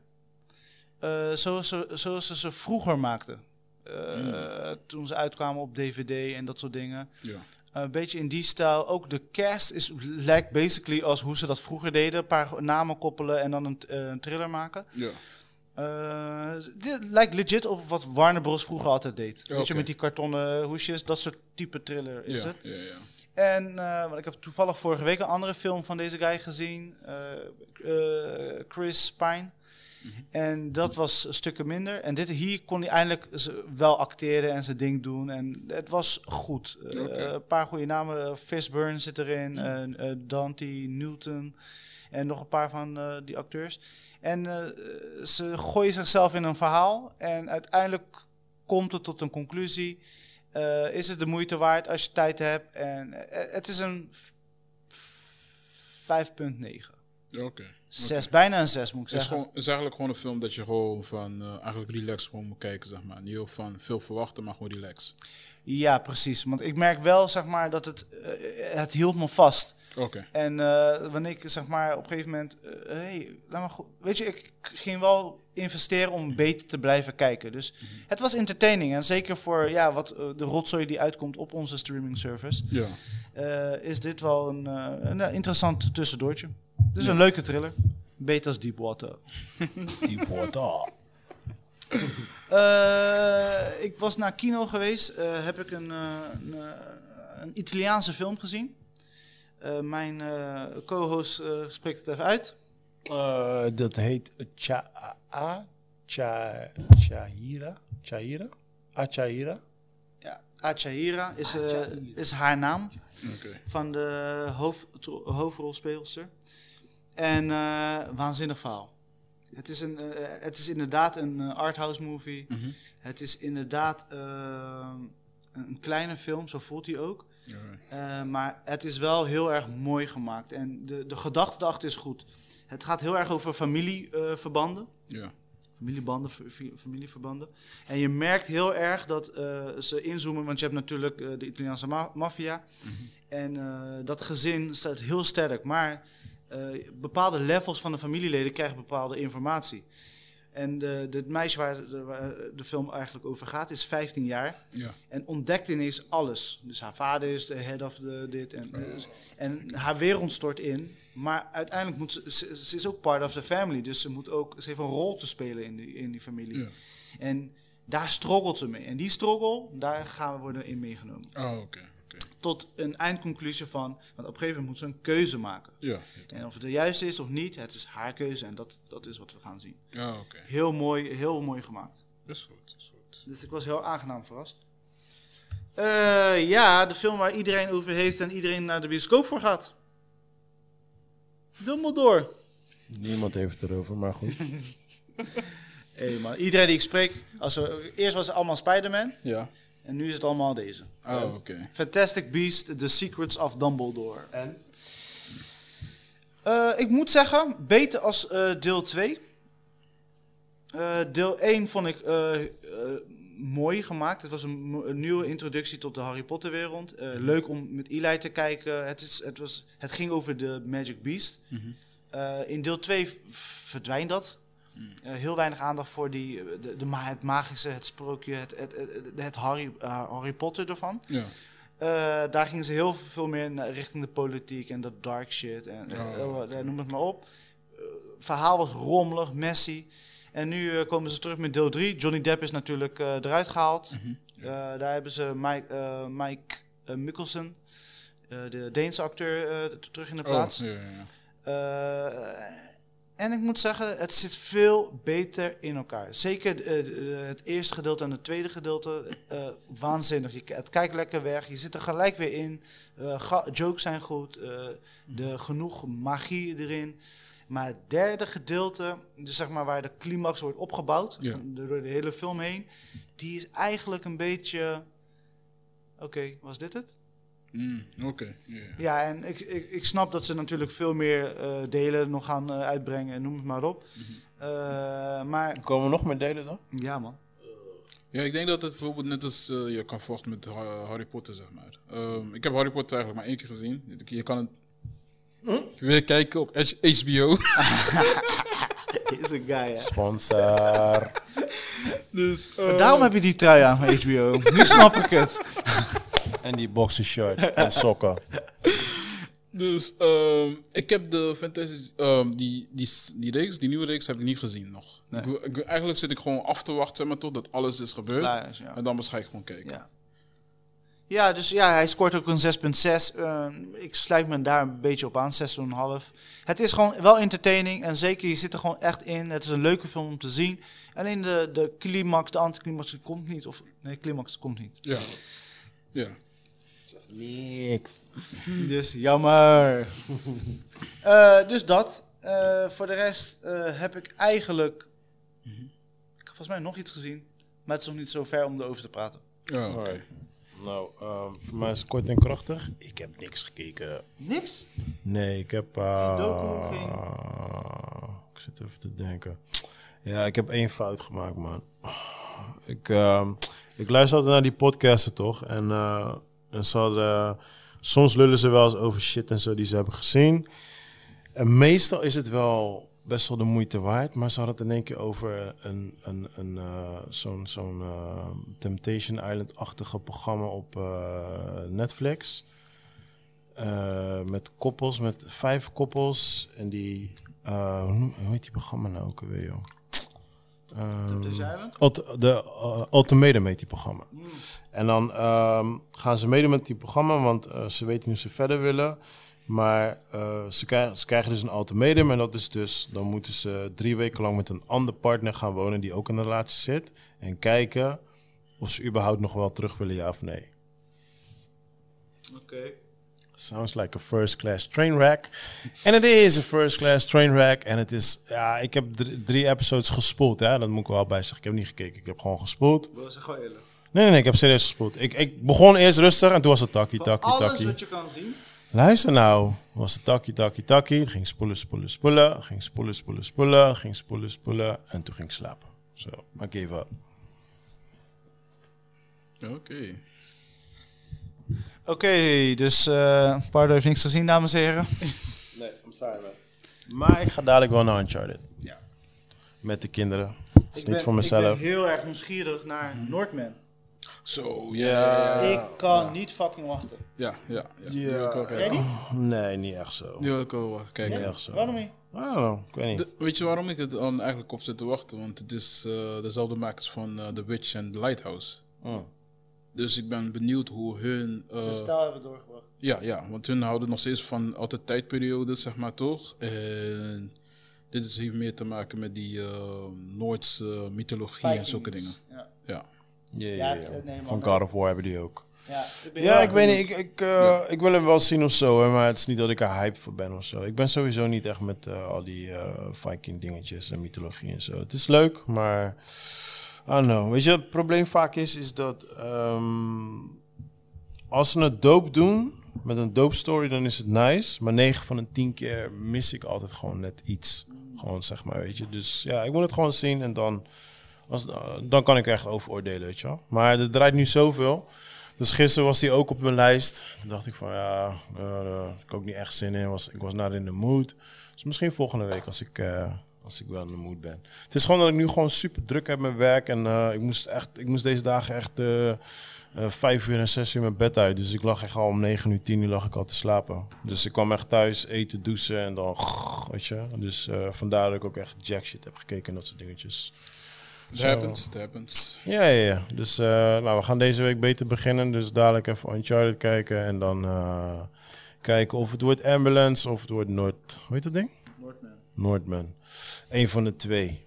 [SPEAKER 2] Eh, zoals, ze, zoals ze ze vroeger maakten. Eh, Toen ze uitkwamen op DVD en dat soort dingen. Eh,
[SPEAKER 1] Ja.
[SPEAKER 2] Een beetje in die stijl. Ook de cast is, lijkt basically als hoe ze dat vroeger deden. Een paar namen koppelen en dan een, eh, een thriller maken.
[SPEAKER 1] Ja.
[SPEAKER 2] Eh, dit lijkt legit op wat Warner Bros. vroeger altijd deed. Weet je,
[SPEAKER 1] Oké.
[SPEAKER 2] met die kartonnen hoesjes, dat soort type thriller is
[SPEAKER 1] ja,
[SPEAKER 2] het.
[SPEAKER 1] Ja, ja.
[SPEAKER 2] En eh, want ik heb toevallig vorige week een andere film van deze guy gezien, eh, eh, Chris Pine. En dat was stukken minder. En dit, hier kon hij eindelijk z- wel acteren en zijn ding doen. En het was goed. Eh,
[SPEAKER 1] Oké.
[SPEAKER 2] Een paar goede namen. eh, Fishburne zit erin. eh, eh, Dante Newton. En nog een paar van eh, die acteurs. En eh, ze gooien zichzelf in een verhaal. En uiteindelijk komt het tot een conclusie. Eh, is het de moeite waard als je tijd hebt? En eh, het is een f- f- 5,9.
[SPEAKER 1] Oké.
[SPEAKER 2] Zes, bijna een 6 moet ik
[SPEAKER 1] Het is,
[SPEAKER 2] zeggen.
[SPEAKER 1] gewoon, is eigenlijk gewoon een film dat je gewoon van eh, eigenlijk relaxed gewoon moet kijken, zeg maar. Niet heel van veel verwachten, maar gewoon relax.
[SPEAKER 2] Ja, precies. Want ik merk wel, zeg maar, dat het, eh, het hield me vast.
[SPEAKER 1] Oké.
[SPEAKER 2] En eh, wanneer ik, zeg maar, op een gegeven moment, eh, hey, laat maar goed. Weet je, ik ging wel investeren om beter te blijven kijken. Dus
[SPEAKER 1] Mhm.
[SPEAKER 2] het was entertaining. En zeker voor, ja, wat eh, de rotzooi die uitkomt op onze streaming service,
[SPEAKER 1] Ja.
[SPEAKER 2] eh, is dit wel een, eh, een eh, interessant tussendoortje. Dus een leuke thriller. Beter als Deepwater.
[SPEAKER 3] Deepwater.
[SPEAKER 2] Eh, ik was naar kino geweest. eh, heb ik een, eh, een, eh, een Italiaanse film gezien. Eh, mijn eh, co-host eh, spreekt het even uit.
[SPEAKER 3] Eh, dat heet Cha... A... Cha... Chahira? Chahira? Achahira?
[SPEAKER 2] Ja, Achahira is, eh, is haar naam
[SPEAKER 1] Oké.
[SPEAKER 2] van de hoofd, hoofdrolspeelster. En eh, waanzinnig verhaal. Het is, een, eh, het is inderdaad een eh, arthouse movie.
[SPEAKER 1] Mhm.
[SPEAKER 2] Het is inderdaad eh, een kleine film, zo voelt hij ook.
[SPEAKER 1] Alright.
[SPEAKER 2] Eh, maar het is wel heel erg mooi gemaakt. En de, de gedachte erachter is goed. Het gaat heel erg over familieverbanden.
[SPEAKER 1] Ja.
[SPEAKER 2] Familiebanden, fa- fi- familieverbanden. En je merkt heel erg dat eh, ze inzoomen, want je hebt natuurlijk eh, de Italiaanse ma- maffia. En eh, dat gezin staat heel sterk. Maar eh, bepaalde levels van de familieleden krijgen bepaalde informatie. En de, het meisje waar de, waar de film eigenlijk over gaat is 15 jaar.
[SPEAKER 1] Ja.
[SPEAKER 2] En ontdekt ineens alles. Dus haar vader is de head of the dit. En, dus- en haar wereld stort in. Maar uiteindelijk moet ze, ze, ze is ook part of the family. Dus ze, moet ook, ze heeft een rol te spelen in die, in die familie.
[SPEAKER 1] Ja.
[SPEAKER 2] En daar struggelt ze mee. En die struggle, daar gaan we worden in meegenomen.
[SPEAKER 1] Oh, oké.
[SPEAKER 2] tot een eindconclusie van, want op een gegeven moment moet ze een keuze maken.
[SPEAKER 1] Ja.
[SPEAKER 2] En of het de juiste is of niet, het is haar keuze en dat, dat is wat we gaan zien.
[SPEAKER 1] Ja, Oh, oké.
[SPEAKER 2] Heel mooi, heel mooi gemaakt.
[SPEAKER 1] Dat is goed, dat is goed.
[SPEAKER 2] Dus ik was heel aangenaam verrast. Eh, ja, de film waar iedereen over heeft en iedereen naar de bioscoop voor gaat. Dumbledore.
[SPEAKER 5] Niemand heeft het erover, maar goed.
[SPEAKER 2] Hey man, iedereen die ik spreek, als we, eerst was het allemaal Spider-Man
[SPEAKER 1] Ja.
[SPEAKER 2] en nu is het allemaal deze.
[SPEAKER 1] Oh, oké.
[SPEAKER 2] Fantastic Beast, The Secrets of Dumbledore.
[SPEAKER 3] En?
[SPEAKER 2] Eh, ik moet zeggen, beter als eh, deel 2. Eh, deel 1 vond ik eh, eh, mooi gemaakt. Het was een, mo- een nieuwe introductie tot de Harry Potter wereld. Eh, leuk om met Eli te kijken. Het, is, het, was, het ging over de Magic Beast. Eh, in deel 2 v- verdwijnt dat. Eh, heel weinig aandacht voor die, eh, de, de, ma- het magische, het sprookje, het, het, het, het Harry, eh, Harry Potter ervan.
[SPEAKER 1] Ja.
[SPEAKER 2] Eh, daar gingen ze heel veel meer naar, richting de politiek en dat dark shit en eh,
[SPEAKER 1] Oh,
[SPEAKER 2] eh, eh, noem het maar op. Eh, verhaal was rommelig, messy. En nu eh, komen ze terug met deel 3. Johnny Depp is natuurlijk eh, eruit gehaald.
[SPEAKER 1] Mhm.
[SPEAKER 2] Eh, daar hebben ze Mike, eh, Mike eh, Mikkelsen, eh, de Deense acteur, eh, t- terug in de plaats.
[SPEAKER 1] Oh, ja, ja, ja.
[SPEAKER 2] Eh, en ik moet zeggen, het zit veel beter in elkaar. Zeker eh, de- de- het eerste gedeelte en het tweede gedeelte. eh, waanzinnig. Je, k- het kijkt lekker weg. Je zit er gelijk weer in. Eh, ga- jokes zijn goed. eh de, genoeg magie erin. Maar het derde gedeelte, dus zeg maar waar de climax wordt opgebouwd,
[SPEAKER 1] Ja.
[SPEAKER 2] van- door de hele film heen, die is eigenlijk een beetje. Oké, was dit het?
[SPEAKER 1] Mm, oké. ja, ja.
[SPEAKER 2] Ja, en ik, ik, ik snap dat ze natuurlijk veel meer eh, delen nog gaan eh, uitbrengen en noem het maar op. Eh, maar
[SPEAKER 3] Komen we nog meer delen dan?
[SPEAKER 2] Mhm. ja, man.
[SPEAKER 1] Ja, ik denk dat het bijvoorbeeld net als eh, je kan vochten met Ha- Harry Potter, zeg maar. Ehm, ik heb Harry Potter eigenlijk maar één keer gezien. Je kan het weer kijken op H- HBO.
[SPEAKER 2] Is een guy, hè?
[SPEAKER 3] Sponsor.
[SPEAKER 1] dus, eh,
[SPEAKER 2] Daarom heb je die trui aan van HBO. nu snap ik het.
[SPEAKER 3] en die boxershort. en sokken.
[SPEAKER 1] dus ehm, ik heb de Fantastic... ehm, die, die, die reeks, die nieuwe reeks, heb ik niet gezien nog.
[SPEAKER 2] Nee.
[SPEAKER 1] Ik wil- ik wil- eigenlijk zit ik gewoon af te wachten, zeg maar, totdat alles is gebeurd.
[SPEAKER 2] Klaar is, ja.
[SPEAKER 1] En dan waarschijnlijk gewoon kijken.
[SPEAKER 2] ja. Ja, dus ja, hij scoort ook een 6.6. Eh, ik sluit me daar een beetje op aan, 6,5. Het is gewoon wel entertaining en zeker, je zit er gewoon echt in. Het is een leuke film om te zien. Alleen de, de climax, de anticlimax die komt niet. Of, nee, climax komt niet.
[SPEAKER 1] Ja. Ja.
[SPEAKER 3] Niks.
[SPEAKER 2] Dus jammer. Eh, dus dat. Eh, voor de rest eh, heb ik eigenlijk. Ik heb volgens mij nog iets gezien. Maar het is nog niet zo ver om erover te praten.
[SPEAKER 1] Ja, oké.
[SPEAKER 3] Alright. Nou, ehm, voor mij is het kort en krachtig. Ik heb niks gekeken.
[SPEAKER 2] Niks?
[SPEAKER 3] Nee, ik heb... eh,
[SPEAKER 2] docu, geen-
[SPEAKER 3] Ik zit even te denken. Ja, ik heb één fout gemaakt, man. Ik, ehm, ik luister altijd naar die podcasten, toch? En, eh, en ze hadden- soms lullen ze wel eens over shit en zo die ze hebben gezien. En meestal is het wel best wel de moeite waard. Maar ze hadden het in één keer over een, een, een, eh, zo'n zo'n eh, Temptation Island-achtige programma op eh, Netflix. Eh, met koppels, met vijf koppels. En die... eh, hoe, noem- hoe heet die programma nou ook alweer, joh? Ehm, Ult- de eh, Ultimatum heet die programma. En dan ehm, gaan ze meedoen met die programma, want eh, ze weten hoe ze verder willen. Maar eh, ze, krijgen, ze krijgen dus een ultimatum en dat is dus... dan moeten ze drie weken lang met een ander partner gaan wonen die ook in een relatie zit... en kijken of ze überhaupt nog wel terug willen, ja of nee.
[SPEAKER 2] Oké.
[SPEAKER 3] Sounds like a first class train wreck. En het is een first class train wreck. En het is, ja, ik heb drie, drie episodes gespoeld. Hè? Dat moet ik er wel bij zeggen. Ik heb niet gekeken. Ik heb gewoon gespoeld.
[SPEAKER 2] Wil ze gewoon eerlijk.
[SPEAKER 3] Nee, nee, nee, ik heb serieus gespoeld. Ik, ik begon eerst rustig en toen was het takkie, takkie, takkie.
[SPEAKER 2] je kan zien.
[SPEAKER 3] Luister nou, was het takkie, takkie, takkie. Het ging spoelen, spoelen, spoelen. Ging spoelen, spoelen, spoelen. Ging spoelen, spoelen. En toen ging ik slapen. Zo, maar ik gave up.
[SPEAKER 1] Oké.
[SPEAKER 2] Oké, dus eh Pardo heeft niks gezien, dames en heren.
[SPEAKER 3] Nee, I'm sorry man. Maar ik ga dadelijk wel naar Uncharted.
[SPEAKER 2] Ja.
[SPEAKER 3] Met de kinderen. Dat is
[SPEAKER 2] Ik
[SPEAKER 3] niet
[SPEAKER 2] ben-
[SPEAKER 3] voor mezelf.
[SPEAKER 2] Ik ben heel erg nieuwsgierig naar Noordman.
[SPEAKER 1] Zo, ja.
[SPEAKER 2] ik kan niet fucking wachten.
[SPEAKER 1] Ja, ja. ja. Die
[SPEAKER 3] Ja.
[SPEAKER 1] wil ik wel
[SPEAKER 2] Jij
[SPEAKER 1] kijken.
[SPEAKER 2] niet?
[SPEAKER 3] eh, Oh, Nee, niet echt zo.
[SPEAKER 1] Die wil ik wel eh, kijken.
[SPEAKER 3] Niet echt zo.
[SPEAKER 2] Waarom niet?
[SPEAKER 3] I don't know, ik weet niet.
[SPEAKER 1] De- weet je waarom ik het dan eigenlijk op zit te wachten? Want het is eh, dezelfde makers van eh, The Witch en The Lighthouse.
[SPEAKER 3] Mm.
[SPEAKER 1] Dus ik ben benieuwd hoe hun... eh,
[SPEAKER 2] Ze stijl hebben doorgebracht.
[SPEAKER 1] ja, ja, want hun houden nog steeds van altijd tijdperiodes, zeg maar, toch? En dit is, heeft meer te maken met die eh, Noordse mythologie en
[SPEAKER 2] Vikings.
[SPEAKER 1] zulke dingen.
[SPEAKER 2] Ja,
[SPEAKER 1] Ja.
[SPEAKER 2] Ja, het- nee, man,
[SPEAKER 3] Van
[SPEAKER 2] nee.
[SPEAKER 3] God of War hebben die ook.
[SPEAKER 2] ja, ik, ben
[SPEAKER 3] Ja,
[SPEAKER 2] heel
[SPEAKER 3] ik
[SPEAKER 2] erg
[SPEAKER 3] weet niet. Ik, ik, eh, ik wil hem wel zien of zo, hè, maar het is niet dat ik er hype voor ben of zo. Ik ben sowieso niet echt met eh, al die eh, Viking dingetjes en mythologie en zo. Het is leuk, maar... I don't know. Weet je, het probleem vaak is, is dat... ehm, als ze het dope doen, met een dope story, dan is het nice. Maar 9 van de 10 keer mis ik altijd gewoon net iets. Gewoon, zeg maar, weet je. Dus ja, ik moet het gewoon zien en dan... Als, eh, dan kan ik er echt over oordelen, weet je wel. Maar er draait nu zoveel. Dus gisteren was die ook op mijn lijst. Toen dacht ik van ja, eh, daar had ik ook niet echt zin in. Was, ik was not in de mood. Dus misschien volgende week als ik, eh, als ik wel in de mood ben. Het is gewoon dat ik nu gewoon super druk heb met werk. En eh, ik, moest echt, ik moest deze dagen echt eh, eh, vijf uur en zes uur mijn bed uit. Dus ik lag echt al om negen uur, tien uur lag ik al te slapen. Dus ik kwam echt thuis eten, douchen en dan weet je. Dus eh, vandaar dat ik ook echt jack shit heb gekeken en dat soort dingetjes.
[SPEAKER 1] It
[SPEAKER 3] Zo.
[SPEAKER 1] happens, it happens.
[SPEAKER 3] Ja, ja, ja. Dus eh, nou, we gaan deze week beter beginnen. Dus dadelijk even Uncharted kijken. En dan eh, kijken of het wordt Ambulance of het wordt Noord... Hoe heet dat ding?
[SPEAKER 2] Noordman.
[SPEAKER 3] Noordman. Eén van de twee.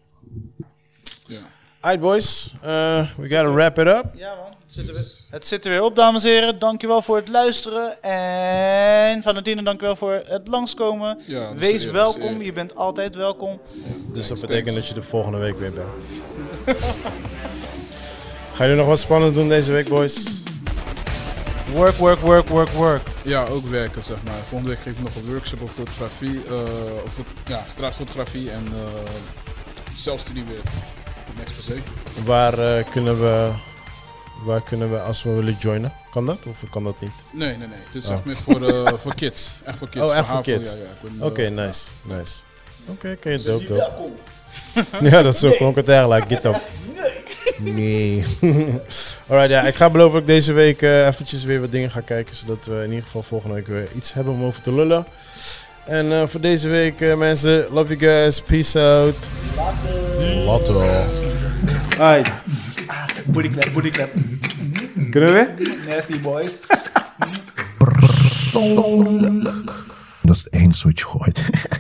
[SPEAKER 1] Ja.
[SPEAKER 3] Alright boys. Eh, we gotta wrap it up.
[SPEAKER 2] Ja, man. Het zit, er
[SPEAKER 1] Dus-
[SPEAKER 2] weer, het zit er weer op, dames en heren. Dankjewel voor het luisteren. En Valentine, dankjewel voor het langskomen.
[SPEAKER 1] Ja, dat is
[SPEAKER 2] Wees
[SPEAKER 1] eer, dat is
[SPEAKER 2] welkom.
[SPEAKER 1] eer.
[SPEAKER 2] Je bent altijd welkom.
[SPEAKER 3] Dus dat betekent dat je er volgende week weer bent. Ga je nog wat spannend doen deze week boys?
[SPEAKER 2] Work, work, work, work, work.
[SPEAKER 1] Ja, ook werken, zeg maar. Volgende week geef ik nog een workshop op fotografie, eh of fot- ja, straatfotografie en eh zelfstudie weer. Voor niks per se.
[SPEAKER 3] Waar, eh, kunnen we, waar kunnen we als we willen joinen? Kan dat of kan dat niet?
[SPEAKER 1] Nee, nee, nee. Dit is
[SPEAKER 3] Oh.
[SPEAKER 1] echt meer voor, eh, voor kids. Echt voor kids.
[SPEAKER 3] Oh, echt voor
[SPEAKER 1] HAVO,
[SPEAKER 3] kids.
[SPEAKER 1] Ja, ja. Ik ben,
[SPEAKER 3] Oké,
[SPEAKER 1] eh,
[SPEAKER 3] nice, nice. Oké, oké, dope, dope.
[SPEAKER 2] Welkom.
[SPEAKER 3] Ja, dat zo klonk het eigenlijk. Get up. Nee. Alright, ja, ik ga beloven dat ik deze week eh, eventjes weer wat dingen ga kijken. Zodat we in ieder geval volgende week weer iets hebben om over te lullen. En eh, voor deze week, eh, mensen, love you guys. Peace out. Later.
[SPEAKER 6] Alright,
[SPEAKER 2] Booty clap, booty clap.
[SPEAKER 6] kunnen we weer?
[SPEAKER 2] Nasty boys.
[SPEAKER 7] Dat is het enige wat je hoort.